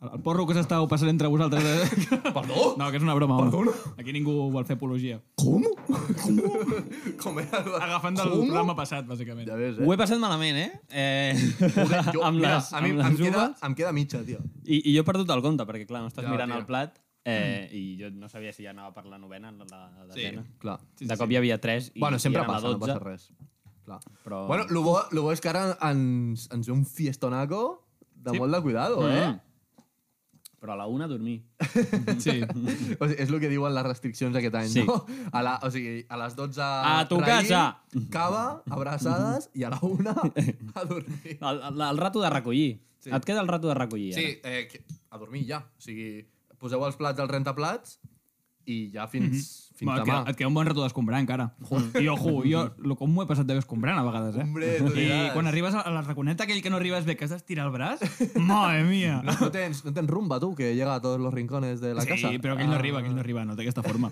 Speaker 4: El, el porro que s'estàveu passant entre vosaltres... eh?
Speaker 3: Perdó?
Speaker 4: no, que és una broma. Perdona? Aquí ningú vol fer apologia.
Speaker 3: Com? Com? [LAUGHS] Com era?
Speaker 4: Agafant del
Speaker 3: Com?
Speaker 4: programa passat, bàsicament.
Speaker 3: Ja ves, eh?
Speaker 5: Ho he passat malament, eh? eh
Speaker 3: Jo,
Speaker 5: amb
Speaker 3: mira,
Speaker 5: les,
Speaker 3: a mi
Speaker 5: amb
Speaker 3: em
Speaker 5: les
Speaker 3: queda,
Speaker 5: uvas.
Speaker 3: em queda mitja, tio.
Speaker 5: [LAUGHS] I, I jo he perdut el compte, perquè clar, no estàs
Speaker 3: Ja,
Speaker 5: mirant
Speaker 3: tio.
Speaker 5: el plat eh, i jo no sabia si ja anava per la novena, la, la desena. Sí.
Speaker 3: Clar.
Speaker 5: Sí, de cop hi havia tres i,
Speaker 3: bueno, sempre
Speaker 5: i eren a
Speaker 3: passa, no
Speaker 5: 12.
Speaker 3: passa res. Clar.
Speaker 5: Però-
Speaker 3: Bueno, lo bo, lo bo és que ara ens, ens ve un fiestonaco de sí. molt de cuidado, eh?
Speaker 5: Mm. Però a la una a dormir.
Speaker 4: Sí.
Speaker 3: [LAUGHS] O sigui, és el que diuen les restriccions aquest any,
Speaker 5: Sí.
Speaker 3: no? A, la, o sigui, a les 12...
Speaker 5: A tu casa.
Speaker 3: Cava, abraçades, i a la
Speaker 5: [LAUGHS]
Speaker 3: una a dormir.
Speaker 5: El, el, el rato de recollir.
Speaker 3: Sí.
Speaker 5: Sí. Et queda el rato de recollir, ara.
Speaker 3: Sí, eh, que- a dormir ja. O sigui, poseu els plats al rentaplats i ja fins, mm -hmm.
Speaker 5: Mm-hmm.
Speaker 3: fins
Speaker 4: Bueno, et,
Speaker 3: demà.
Speaker 4: queda, et queda un bon rato d'escombrar, encara. I ojo, jo lo, com m'ho he passat de bé escombrant, a vegades, eh?
Speaker 3: Hombre, tu
Speaker 4: I
Speaker 3: diràs.
Speaker 4: quan arribes a la raconeta, aquell que no arribes bé, que has d'estirar el braç, madre mía.
Speaker 3: No, no, tens, no tens rumba, tu, que llega a tots los rincones de la
Speaker 4: sí,
Speaker 3: casa. Ah.
Speaker 4: però aquell no arriba, aquell no arriba, no té aquesta forma.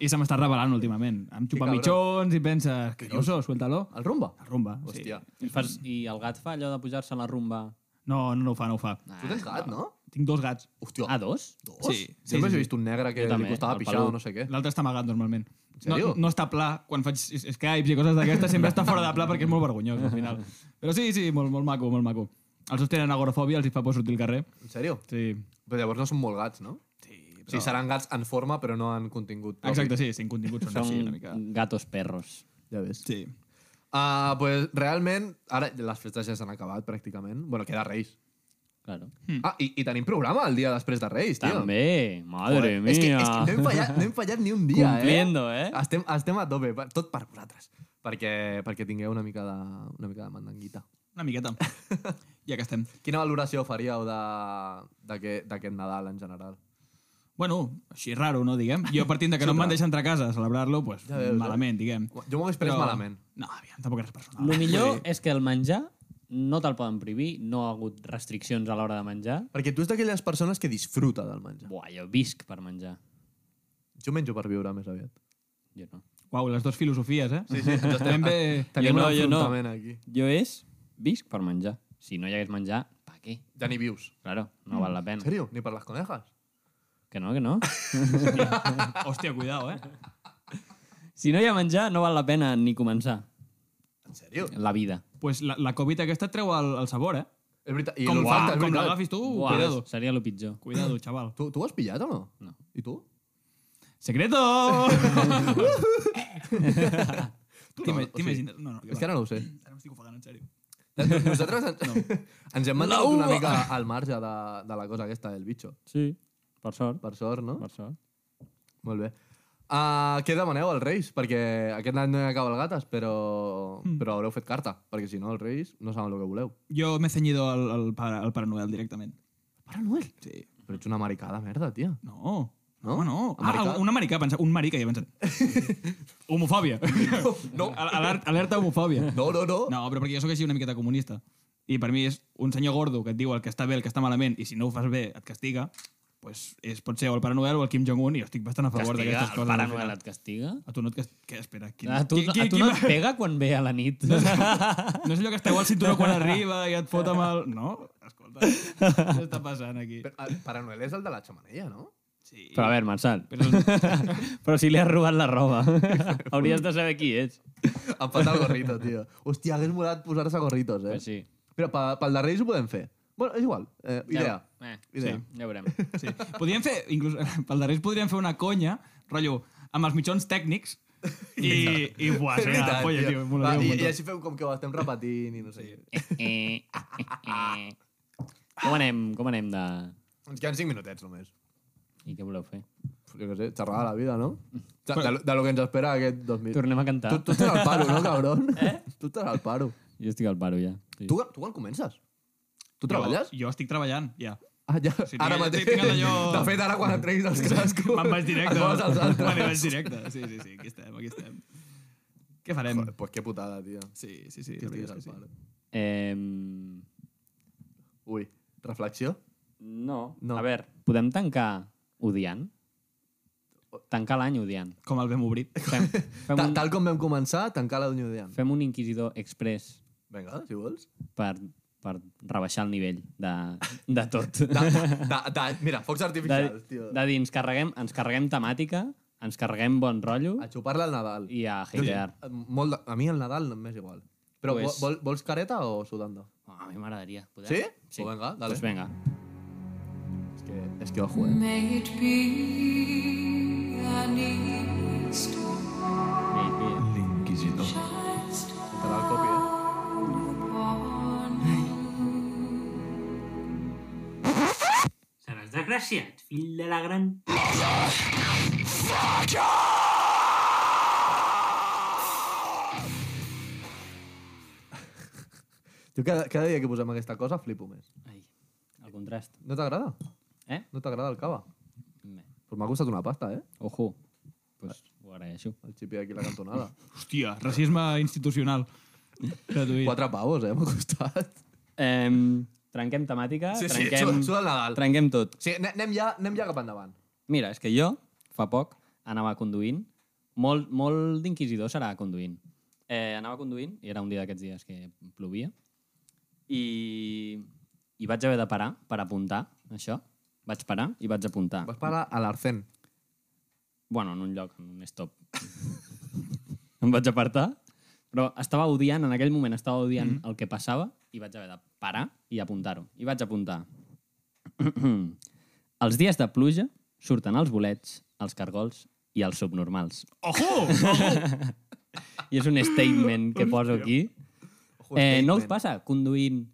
Speaker 4: I se m'està revelant últimament. Em xupa
Speaker 3: cabró.
Speaker 4: mitjons i penses, que oso, suéltalo.
Speaker 3: El rumba?
Speaker 4: El rumba,
Speaker 3: Hòstia.
Speaker 4: sí.
Speaker 5: I, fas, I el gat fa allò de pujar-se a la rumba...
Speaker 4: No, no, no ho fa, no ho fa.
Speaker 3: Tu tens gat, no?
Speaker 4: Tinc dos gats.
Speaker 3: Hòstia.
Speaker 5: Ah, dos?
Speaker 3: dos?
Speaker 4: sí, sí,
Speaker 3: Sempre
Speaker 4: sí,
Speaker 3: he vist un negre que
Speaker 5: Jo
Speaker 3: li
Speaker 5: també,
Speaker 3: costava
Speaker 5: el
Speaker 3: pixar o
Speaker 5: pelut.
Speaker 3: no sé què.
Speaker 4: L'altre està amagat, normalment. No,
Speaker 3: sèrio?
Speaker 4: no està pla. Quan faig s- Skypes i coses d'aquestes, sempre està fora de pla perquè és molt vergonyós, al
Speaker 3: [LAUGHS]
Speaker 4: final. Però sí, sí, molt, molt maco, molt maco. Els dos tenen agorafòbia, els hi fa por sortir al carrer.
Speaker 3: En sèrio?
Speaker 4: Sí.
Speaker 3: Però llavors no són molt gats, no? Sí, però... Sí, seran gats en forma, però no en contingut. propi.
Speaker 4: Exacte, sí, sin contingut
Speaker 3: Ah,
Speaker 4: són
Speaker 5: Són
Speaker 4: així, una mica.
Speaker 5: gatos perros.
Speaker 3: Ja ves.
Speaker 4: Sí.
Speaker 3: Ah, pues, realment, ara les festes ja s'han acabat, pràcticament. Bueno, queda Reis.
Speaker 5: Claro.
Speaker 4: Mm.
Speaker 3: Ah, i, i tenim programa el dia després de Reis, tio.
Speaker 5: També, madre
Speaker 3: Joder,
Speaker 5: mía.
Speaker 3: És que, és que no, hem fallat, no hem fallat ni un dia,
Speaker 5: Cumpliendo, eh?
Speaker 3: [LAUGHS] Estem, estem a tope, va, tot per vosaltres. Perquè, perquè tingueu una mica, de, una mica de mandanguita.
Speaker 4: Una
Speaker 3: [LAUGHS]
Speaker 4: miqueta. ja que estem.
Speaker 3: Quina valoració faríeu de- d'aquest d'aquest Nadal en general?
Speaker 4: Bueno, així raro, no, diguem? Jo partint de que no em van deixar entrar a casa a celebrar-lo, pues,
Speaker 3: Ja veus, eh?
Speaker 4: malament, diguem.
Speaker 3: Jo m'ho hagués pres malament.
Speaker 4: No, aviam, tampoc és personal.
Speaker 5: El millor és que el menjar no te'l poden prohibir, no ha hagut restriccions a l'hora de menjar.
Speaker 3: Perquè tu ets d'aquelles persones que disfruta del menjar.
Speaker 5: Buah, jo visc per menjar.
Speaker 3: Jo menjo per viure més aviat.
Speaker 5: Jo no.
Speaker 4: Uau, les dues filosofies, eh? Sí, sí. [LAUGHS] Ben bé...
Speaker 3: [LAUGHS] Tenim
Speaker 5: no,
Speaker 3: un
Speaker 5: jo no.
Speaker 3: enfrontament aquí.
Speaker 5: Jo és visc per menjar. Si no hi hagués menjar, pa què?
Speaker 3: Ja ni vius.
Speaker 5: Claro, no val la
Speaker 3: En
Speaker 5: pena.
Speaker 3: sèrio? Ni per les conejas?
Speaker 5: Que no, que no.
Speaker 4: Hòstia, cuidao, eh?
Speaker 5: [LAUGHS] Si no hi ha menjar, no val la pena ni començar
Speaker 3: En sèrio?
Speaker 5: la vida.
Speaker 4: pues la, la Covid aquesta et treu el, el sabor, eh?
Speaker 3: És veritat. I
Speaker 4: com
Speaker 3: l'olfacte, és
Speaker 4: com
Speaker 3: veritat.
Speaker 4: l'agafis tu,
Speaker 5: Buah,
Speaker 4: Uh, cuidado.
Speaker 5: seria el pitjor.
Speaker 4: Cuidado, xaval.
Speaker 3: Tu, tu ho has pillat o no?
Speaker 5: No.
Speaker 3: I tu?
Speaker 4: Secreto!
Speaker 3: Tu no,
Speaker 4: T'ima-
Speaker 3: o sigui,
Speaker 4: T'imagines? No, no,
Speaker 3: És que
Speaker 4: va.
Speaker 3: ara no ho sé.
Speaker 4: Ara m'estic ofegant, en sèrio.
Speaker 3: Nosaltres ens, no. ens hem mantingut una mica al marge de, de la cosa aquesta del bitxo.
Speaker 5: Sí, per sort.
Speaker 3: Per sort, no?
Speaker 5: Per sort.
Speaker 3: Molt bé. Uh, què demaneu als Reis? Perquè aquest any no hi ha cabalgates, però, mm. però haureu fet carta, perquè si no els Reis no saben el que voleu.
Speaker 4: Jo m'he ceñido al, al, pare, al Pare Noel directament.
Speaker 3: Pare Noel?
Speaker 4: Sí.
Speaker 3: Però ets una maricada, merda, tia.
Speaker 4: No.
Speaker 3: No?
Speaker 4: No? no.
Speaker 3: Americà?
Speaker 4: Ah, un americà, pensa, un marica, ja he pensat. homofòbia. [LAUGHS] No. Alerta, alerta homofòbia.
Speaker 3: No, no, no.
Speaker 4: No, però perquè jo sóc així una miqueta comunista. I per mi és un senyor gordo que et diu el que està bé, el que està malament, i si no ho fas bé et castiga, pues és, pot ser o el Pare Noel o el Kim Jong-un, i jo estic bastant a favor
Speaker 5: Castiga,
Speaker 4: d'aquestes
Speaker 5: el
Speaker 4: coses.
Speaker 5: Pare
Speaker 4: al final.
Speaker 5: Noel et castiga?
Speaker 4: A tu no et castiga... Què, espera? Quin,
Speaker 5: A tu,
Speaker 4: qui- qui-
Speaker 5: a tu
Speaker 4: qui
Speaker 5: no
Speaker 4: va-
Speaker 5: et pega quan ve a la nit.
Speaker 4: No és allò que esteu al cinturó quan arriba i et fot amb el... No? Escolta, què està passant aquí?
Speaker 3: Però, eh, Pare Noel és el de la xamanella, no?
Speaker 4: Sí.
Speaker 5: [LAUGHS] Però a veure, Marçal,
Speaker 4: Però,
Speaker 5: però si li has robat la
Speaker 4: [LAUGHS]
Speaker 5: roba. Hauries de saber qui ets.
Speaker 3: Em falta el gorrito, tio. Hòstia, hagués molat posar-se gorritos, eh?
Speaker 5: Pues sí.
Speaker 3: Però pe- pel de Reis ho podem fer. Bueno, és igual. Eh, idea.
Speaker 5: Eh,
Speaker 3: Idea.
Speaker 5: Sí, ja veurem.
Speaker 4: sí. Podríem fer, inclús, [LAUGHS] pel darrer podríem fer una conya, rotllo, amb els mitjons tècnics, i, i buah,
Speaker 3: És
Speaker 4: seria la polla, tio.
Speaker 3: Va,
Speaker 4: molaria un
Speaker 3: i, I
Speaker 4: muntó.
Speaker 3: així feu com que ho estem repetint i no sé. Sí.
Speaker 5: Eh, eh, eh. Com anem? Com anem de...
Speaker 3: Ens queden 5 minutets només.
Speaker 5: I què voleu fer?
Speaker 3: Jo què sé, xerrar de la vida, no? De, de, lo- de lo que ens espera aquest 2000.
Speaker 5: Tornem a cantar.
Speaker 3: Tu, tu estàs al paro, no, cabron? Eh? Tu estàs al paro.
Speaker 5: Jo estic al paro ja. Sí.
Speaker 3: Tu, tu quan comences? Tu treballes?
Speaker 4: Jo, jo estic treballant, ja.
Speaker 3: Ah, ja.
Speaker 4: Sí,
Speaker 3: Sí, ara
Speaker 4: tinc-
Speaker 3: mateix.
Speaker 4: tinc el d'allò-
Speaker 3: De fet, ara quan et treguis els cascos...
Speaker 4: Me'n vaig
Speaker 3: [LAUGHS]
Speaker 4: directe.
Speaker 3: et poses els altres.
Speaker 4: Me vaig directe. Sí, sí, sí, aquí estem, aquí estem. Què farem?
Speaker 3: Joder, pues qué putada, tío.
Speaker 4: Sí, sí, sí.
Speaker 3: Que
Speaker 4: la
Speaker 3: estiguis
Speaker 4: veritat
Speaker 3: al
Speaker 4: és que sí.
Speaker 3: pal.
Speaker 5: Em,
Speaker 3: Ui, reflexió?
Speaker 5: no.
Speaker 3: No.
Speaker 5: A veure, podem tancar odiant? Tancar l'any odiant.
Speaker 4: Com el vam obrir.
Speaker 3: [LAUGHS]
Speaker 5: Fem, fem,
Speaker 3: Ta
Speaker 5: un,
Speaker 3: tal com vam començar, tancar la Unió d'Ean.
Speaker 5: fem un inquisidor express
Speaker 3: Vinga, si vols.
Speaker 5: per, per rebaixar el nivell de, de tot.
Speaker 3: Da, da, da, mira, focs artificials,
Speaker 5: de,
Speaker 3: tio.
Speaker 5: de dir, ens carreguem, ens carreguem temàtica, ens carreguem bon rotllo
Speaker 3: A xupar-la al Nadal.
Speaker 5: i a hatear.
Speaker 3: Eh, Molt de... A mi el Nadal no m'és igual. Però
Speaker 5: Pues-
Speaker 3: pues... vol, vols careta o sudando?
Speaker 5: Oh, a mi m'agradaria. Podem?
Speaker 3: Sí?
Speaker 5: Sí.
Speaker 3: Pues venga, dale.
Speaker 5: Pues venga.
Speaker 3: És que, és que ojo, eh?
Speaker 7: May it be an evening star
Speaker 5: Sí,
Speaker 1: L'inquisidor.
Speaker 7: shines
Speaker 3: Serà el copi, eh?
Speaker 7: upon
Speaker 8: Seràs desgraciat, fill de la gran...
Speaker 3: Jo cada, cada dia que posem aquesta cosa flipo més.
Speaker 5: sí. Ai, el contrast.
Speaker 3: No t'agrada?
Speaker 5: Eh?
Speaker 3: No t'agrada el cava?
Speaker 5: Bé.
Speaker 3: Però m'ha costat una pasta, eh?
Speaker 5: Ojo. Pues ho agraeixo.
Speaker 3: El xipi aquí a la [LAUGHS] cantonada.
Speaker 4: Hòstia, racisme institucional. Gratuït.
Speaker 3: Quatre pavos, eh? M'ha costat.
Speaker 5: Eh, trenquem temàtica,
Speaker 3: Sí, sí,
Speaker 5: trenquem,
Speaker 3: sud- [LAUGHS] suda el Nadal.
Speaker 5: trenquem tot.
Speaker 3: Sí, ane- anem ja, anem ja cap endavant.
Speaker 5: Mira, és que jo, fa poc, anava conduint, molt, molt d'inquisidor serà conduint. Eh, anava conduint, i era un dia d'aquests dies que plovia, i, i vaig haver de parar per apuntar això. Vaig parar i vaig apuntar.
Speaker 3: Vas parar a l'Arcén.
Speaker 5: bueno, en un lloc, en un stop. [LAUGHS] em vaig apartar, però estava odiant, en aquell moment estava odiant
Speaker 4: Mm-hmm.
Speaker 5: mm -hmm. el que passava i vaig haver de parar i apuntar-ho. I vaig apuntar. [CLEARS THROAT] els dies de pluja surten els bolets, els cargols i els subnormals. [LAUGHS]
Speaker 4: Ojo!
Speaker 5: I és un statement que poso aquí.
Speaker 3: este
Speaker 5: Eh, no us passa conduïint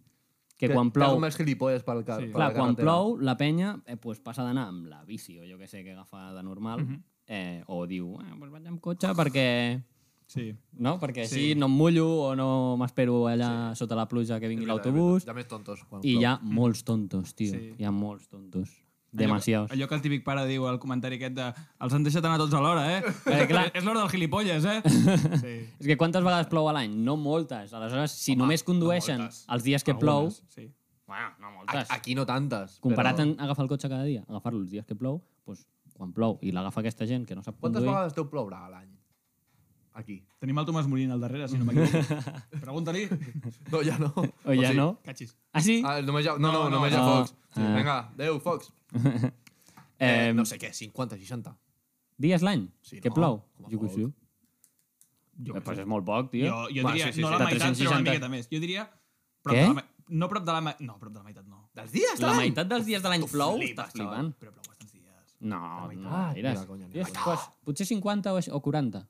Speaker 5: que, quan plou...
Speaker 3: Més gilipolles pel car sí.
Speaker 5: Clar, quan plou, la penya eh, pues, passa d'anar amb la bici o jo que sé que agafa de normal
Speaker 3: Mhm.
Speaker 5: eh, o diu, ah, pues vaig amb cotxe perquè
Speaker 4: Sí.
Speaker 5: No? Perquè així no em mullo o no m'espero allà sota la pluja que vingui l'autobús.
Speaker 3: Ja més tontos. Quan
Speaker 5: I
Speaker 3: plou.
Speaker 5: hi ha molts tontos, tio.
Speaker 4: Sí.
Speaker 5: Hi ha molts tontos. Demasiados.
Speaker 4: Allò que el típic pare diu al comentari aquest de els han deixat anar tots a l'hora, eh?
Speaker 5: Eh, clar.
Speaker 4: És l'hora del gilipolles, eh? Sí.
Speaker 5: És que quantes vegades plou a l'any? No moltes. Aleshores, si només condueixen
Speaker 3: moltes.
Speaker 5: els dies que plou...
Speaker 4: Sí.
Speaker 5: Bueno, no moltes.
Speaker 3: A- Aquí no tantes.
Speaker 5: Comparat
Speaker 3: però...
Speaker 5: amb agafar el cotxe cada dia, agafar-lo els dies que plou, doncs, quan plou i l'agafa aquesta gent que no sap
Speaker 3: Quantes
Speaker 5: conduir...
Speaker 3: vegades deu ploure a l'any? Aquí.
Speaker 4: Tenim el Tomàs Molina al darrere, si no m'equivoco. Pregunta-li.
Speaker 3: No, ja
Speaker 5: [LAUGHS]
Speaker 3: no.
Speaker 5: O Oh, ja
Speaker 3: sí.
Speaker 5: no?
Speaker 4: Cachis.
Speaker 5: Ah, sí?
Speaker 3: Ah, només hi ha, no, no,
Speaker 4: No, no,
Speaker 3: només hi ha
Speaker 5: no.
Speaker 3: Fox. Sí.
Speaker 5: Ah.
Speaker 3: Vinga, adeu, Fox. Eh,
Speaker 5: Em,
Speaker 3: no sé què, 50, 60.
Speaker 5: Dies l'any
Speaker 3: Sí,
Speaker 5: que
Speaker 3: no?
Speaker 5: plou?
Speaker 3: Com a
Speaker 5: Jo que
Speaker 3: poc.
Speaker 5: sí.
Speaker 4: Jo,
Speaker 5: Eh, Pues és molt poc, tio.
Speaker 4: jo, jo
Speaker 3: Va,
Speaker 4: diria,
Speaker 3: sí, sí,
Speaker 4: no
Speaker 3: sí,
Speaker 4: la
Speaker 5: de
Speaker 4: meitat, però una
Speaker 5: 360.
Speaker 4: miqueta més. Jo diria... Prop
Speaker 5: Què?
Speaker 4: de la me- no prop de la meitat, no, prop de la meitat no.
Speaker 3: Dels dies,
Speaker 5: La meitat dels dies de l'any plou? Estàs flipant.
Speaker 4: Però plou bastants dies.
Speaker 5: No,
Speaker 3: Ah,
Speaker 5: no mires.
Speaker 3: mira, conya, ni
Speaker 5: Dius,
Speaker 3: la
Speaker 5: pues, potser 50 o, o 40.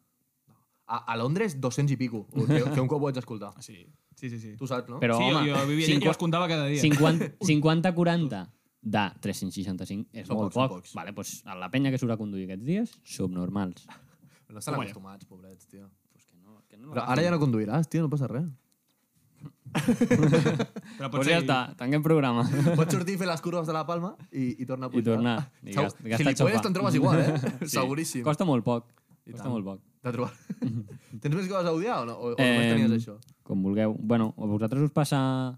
Speaker 3: A, a Londres, 200 i pico. o Que, que un cop ho vaig escoltar.
Speaker 4: Ah, Sí, sí, sí. sí.
Speaker 3: Tu saps, no?
Speaker 5: Però,
Speaker 4: sí,
Speaker 5: home,
Speaker 4: jo, jo vivia allà i els comptava cada
Speaker 3: [LAUGHS]
Speaker 4: dia.
Speaker 5: 50-40 de 365 és
Speaker 3: Són pocs, són
Speaker 5: molt poc.
Speaker 3: pocs.
Speaker 5: Vale, doncs a la penya que surt a conduir aquests dies, subnormals.
Speaker 3: No estan
Speaker 4: Home, ja.
Speaker 3: acostumats, pobrets, tio.
Speaker 5: Pues que no, que no
Speaker 3: Però ara ja no conduiràs, tio, no passa res. [LAUGHS]
Speaker 4: Però
Speaker 5: pues ja està, tanquem
Speaker 3: [LAUGHS]
Speaker 5: programa.
Speaker 3: Pots sortir, fer les curves de la Palma i, i tornar a
Speaker 5: I
Speaker 3: pujar.
Speaker 5: tornar. I
Speaker 3: Segur-
Speaker 5: gast- gastar xopar.
Speaker 3: Gilipolles te'n trobes igual,
Speaker 5: [LAUGHS]
Speaker 3: eh? Sí. Seguríssim.
Speaker 5: Costa molt poc.
Speaker 3: I
Speaker 5: Costa
Speaker 3: tant.
Speaker 5: molt poc.
Speaker 3: T'ha
Speaker 5: [LAUGHS]
Speaker 3: trobat. Tens més coses a odiar o no? O, o només tenies
Speaker 5: Em,
Speaker 3: això?
Speaker 5: Com vulgueu. Bueno, a vosaltres us passa...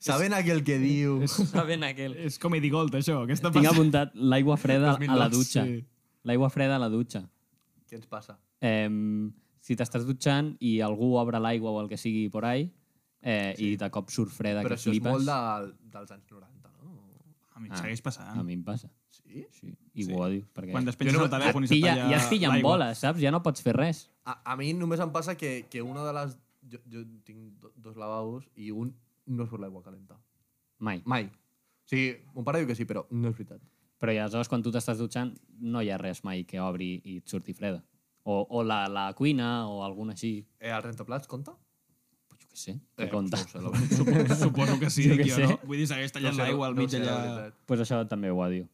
Speaker 3: Sabent aquell que diu...
Speaker 5: Saben aquell.
Speaker 4: És comedy gold, això. Aquesta
Speaker 5: Tinc apuntat l'aigua freda a la
Speaker 4: 2009,
Speaker 5: dutxa.
Speaker 4: sí.
Speaker 5: L'aigua freda a la dutxa.
Speaker 3: Què ens passa?
Speaker 5: eh, si t'estàs dutxant i algú obre l'aigua o el que sigui por ahí, eh, sí. i de cop surt freda
Speaker 3: Però
Speaker 5: que
Speaker 3: això és
Speaker 5: flipes,
Speaker 3: molt de, dels anys 90, no?
Speaker 4: A mi
Speaker 5: Ah.
Speaker 4: em segueix passant.
Speaker 5: a mi em passa.
Speaker 3: Sí?
Speaker 5: Sí. I sí. ho odio. Perquè
Speaker 4: Quan despenges el telèfon i
Speaker 5: et
Speaker 4: se
Speaker 5: pilla,
Speaker 4: talla
Speaker 5: ja es pillen
Speaker 4: l'aigua.
Speaker 5: boles, saps? Ja no pots fer res.
Speaker 3: A, a mi només em passa que, que una de les... Jo, jo tinc do, dos lavabos i un no és per l'aigua calenta.
Speaker 5: Mai.
Speaker 3: Mai. O sigui, mon pare diu que sí, però no és veritat.
Speaker 5: Però i aleshores, quan tu t'estàs dutxant, no hi ha res mai que obri i et surti freda. O, o la, la cuina, o alguna així.
Speaker 3: Eh, el rentaplats compta?
Speaker 5: Pues jo què sé, que eh, compta.
Speaker 3: No ho sé, la veritat.
Speaker 4: [LAUGHS] Suposo que sí,
Speaker 5: Jo
Speaker 4: dic
Speaker 5: què
Speaker 4: jo,
Speaker 5: sé.
Speaker 4: no? Vull dir, segueix tallant
Speaker 3: No ho sé,
Speaker 4: l'aigua al
Speaker 3: no ho
Speaker 4: mig
Speaker 3: sé, la
Speaker 4: allà...
Speaker 3: veritat.
Speaker 5: pues això també ho odio.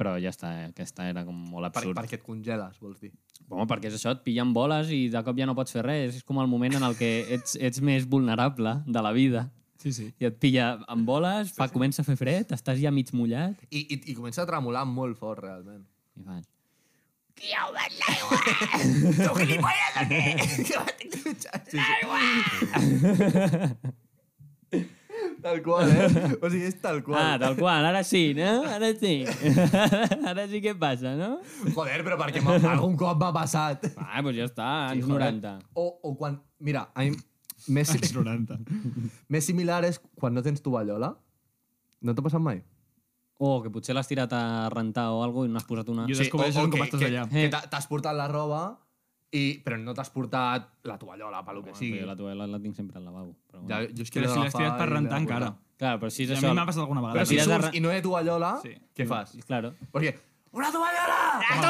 Speaker 5: Però ja està, eh? aquesta era com molt
Speaker 3: Per,
Speaker 5: absurd.
Speaker 3: perquè et congeles, vols dir.
Speaker 5: Home, perquè és això, et pillen boles i de cop ja no pots fer res. És com el moment en el que ets, ets més vulnerable de la vida.
Speaker 4: Sí, sí.
Speaker 5: I et pilla amb boles, fa, comença a fer fred, estàs ja mig mullat
Speaker 3: I, i, I comença a tremolar molt fort,
Speaker 4: [LAUGHS]
Speaker 3: realment.
Speaker 5: i fas...
Speaker 4: eh?
Speaker 3: Tal qual, eh? O sigui, és tal qual.
Speaker 5: Ah, tal qual, ara sí,
Speaker 4: [LAUGHS]
Speaker 5: no? Ara sí. [LAUGHS] ara sí que passa, no?
Speaker 3: Joder, però perquè m'ha- algun cop m'ha passat.
Speaker 5: Ah, doncs ja està, anys 90.
Speaker 3: O, o quan... Mira, a mi... Més,
Speaker 4: Anys 90.
Speaker 3: més similar és quan no tens tovallola. No t'ha passat mai?
Speaker 5: O que potser l'has tirat a rentar o alguna i no has posat una...
Speaker 4: Jo descobreixes com estàs
Speaker 3: que,
Speaker 4: allà.
Speaker 3: Que t'ha- t'has portat la roba, i, però no t'has portat la tovallola, pel que
Speaker 5: Bueno,
Speaker 3: sigui.
Speaker 5: però jo la tovallola la tinc sempre al lavabo. Però bueno.
Speaker 3: Ja,
Speaker 5: ja...
Speaker 3: jo és que
Speaker 4: Però
Speaker 3: l'he
Speaker 4: si l'has
Speaker 3: d'agafar
Speaker 4: tirat per
Speaker 3: i l'he de
Speaker 4: rentar
Speaker 3: portar.
Speaker 4: encara.
Speaker 5: Clar, però si
Speaker 4: I
Speaker 5: és
Speaker 4: a
Speaker 5: això...
Speaker 4: mi m'ha passat alguna
Speaker 3: Però
Speaker 4: vegada.
Speaker 3: si
Speaker 5: tires a
Speaker 3: surts
Speaker 5: ra-
Speaker 3: i no hi ha tovallola,
Speaker 4: Sí.
Speaker 3: què fas?
Speaker 5: Claro.
Speaker 3: Perquè... Una tovallola!
Speaker 4: Jo no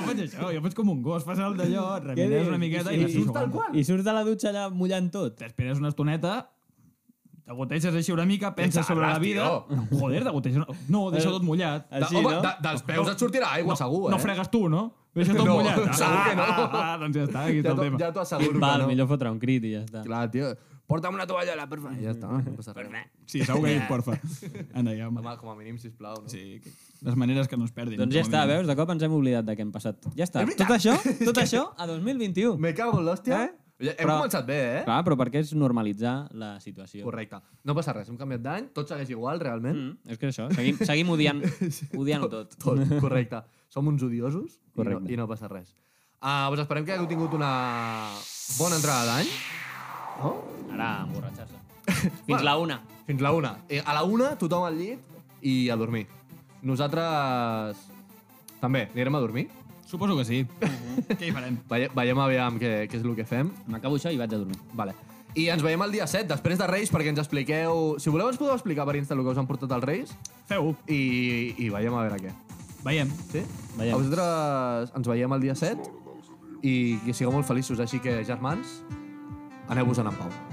Speaker 4: faig això, jo faig com un gos, fas el d'allò, et remines una miqueta i, i, i,
Speaker 5: tal qual. I surts de la dutxa allà mullant tot.
Speaker 4: t'esperes una estoneta, te goteixes així una mica, penses
Speaker 3: Pensa,
Speaker 4: sobre la
Speaker 3: arràs,
Speaker 4: vida... Joder, te goteixes... una- No, deixa tot mullat.
Speaker 5: Eh, Així,
Speaker 3: Home,
Speaker 5: no?
Speaker 3: de, dels peus et sortirà aigua,
Speaker 4: no,
Speaker 3: segur, eh?
Speaker 4: No fregues tu, no? Deixa tot
Speaker 3: No,
Speaker 4: mullat.
Speaker 3: segur que no.
Speaker 4: Ah, ah, ah, doncs ja està,
Speaker 3: Ja
Speaker 4: aquí està el
Speaker 3: t'ho
Speaker 4: tema.
Speaker 3: ja t'ho asseguro que
Speaker 5: Val,
Speaker 3: no.
Speaker 5: millor fotre un crit i ja està.
Speaker 3: Clar, tio. Porta'm una tovallola, per favor. I ja està, no passa res.
Speaker 4: Sí, segur que hi porfa. Anda, ja, home.
Speaker 3: Home, com a mínim, sisplau, no?
Speaker 4: Sí, que- les maneres que no es perdin.
Speaker 5: Doncs ja
Speaker 4: com a
Speaker 5: està,
Speaker 4: mínim.
Speaker 5: veus? De cop ens hem oblidat de què hem passat. Ja està. Tot
Speaker 3: [LAUGHS]
Speaker 5: això, tot això a 2021.
Speaker 3: Me cago en l'hòstia.
Speaker 5: Eh?
Speaker 3: Eh? Hem
Speaker 5: Però-
Speaker 3: començat bé, eh?
Speaker 5: Clar, però perquè és normalitzar la situació.
Speaker 3: Correcte. No passa res, hem canviat d'any, tot segueix igual, realment.
Speaker 5: Mm, és que és això, seguim, seguim
Speaker 3: [LAUGHS]
Speaker 5: odiant, odiant-ho tot.
Speaker 3: Tot, correcte. Som uns odiosos i no,
Speaker 5: Correcte.
Speaker 3: i no passa res. Uh, doncs esperem que hagueu tingut una bona entrada d'any. No?
Speaker 5: Ara, emborratxar-se.
Speaker 3: [LAUGHS]
Speaker 5: Fins
Speaker 3: Bueno.
Speaker 5: la una.
Speaker 3: Fins la una. Eh, a la una, tothom al llit i a dormir. Nosaltres també anirem a dormir.
Speaker 4: Suposo que sí. Què hi farem?
Speaker 3: Veie, veiem aviam què, què és el que fem.
Speaker 5: M'acabo això i vaig a dormir.
Speaker 3: Vale. I ens veiem el dia 7, després de Reis, perquè ens expliqueu... Si voleu, ens podeu explicar per Insta el que us han portat els Reis
Speaker 4: Feu-ho.
Speaker 3: i, i veiem a veure què.
Speaker 4: Veiem.
Speaker 3: Sí?
Speaker 5: Veiem.
Speaker 3: A vosaltres ens veiem el dia 7 i que sigueu molt feliços. Així que, germans, aneu-vos en pau.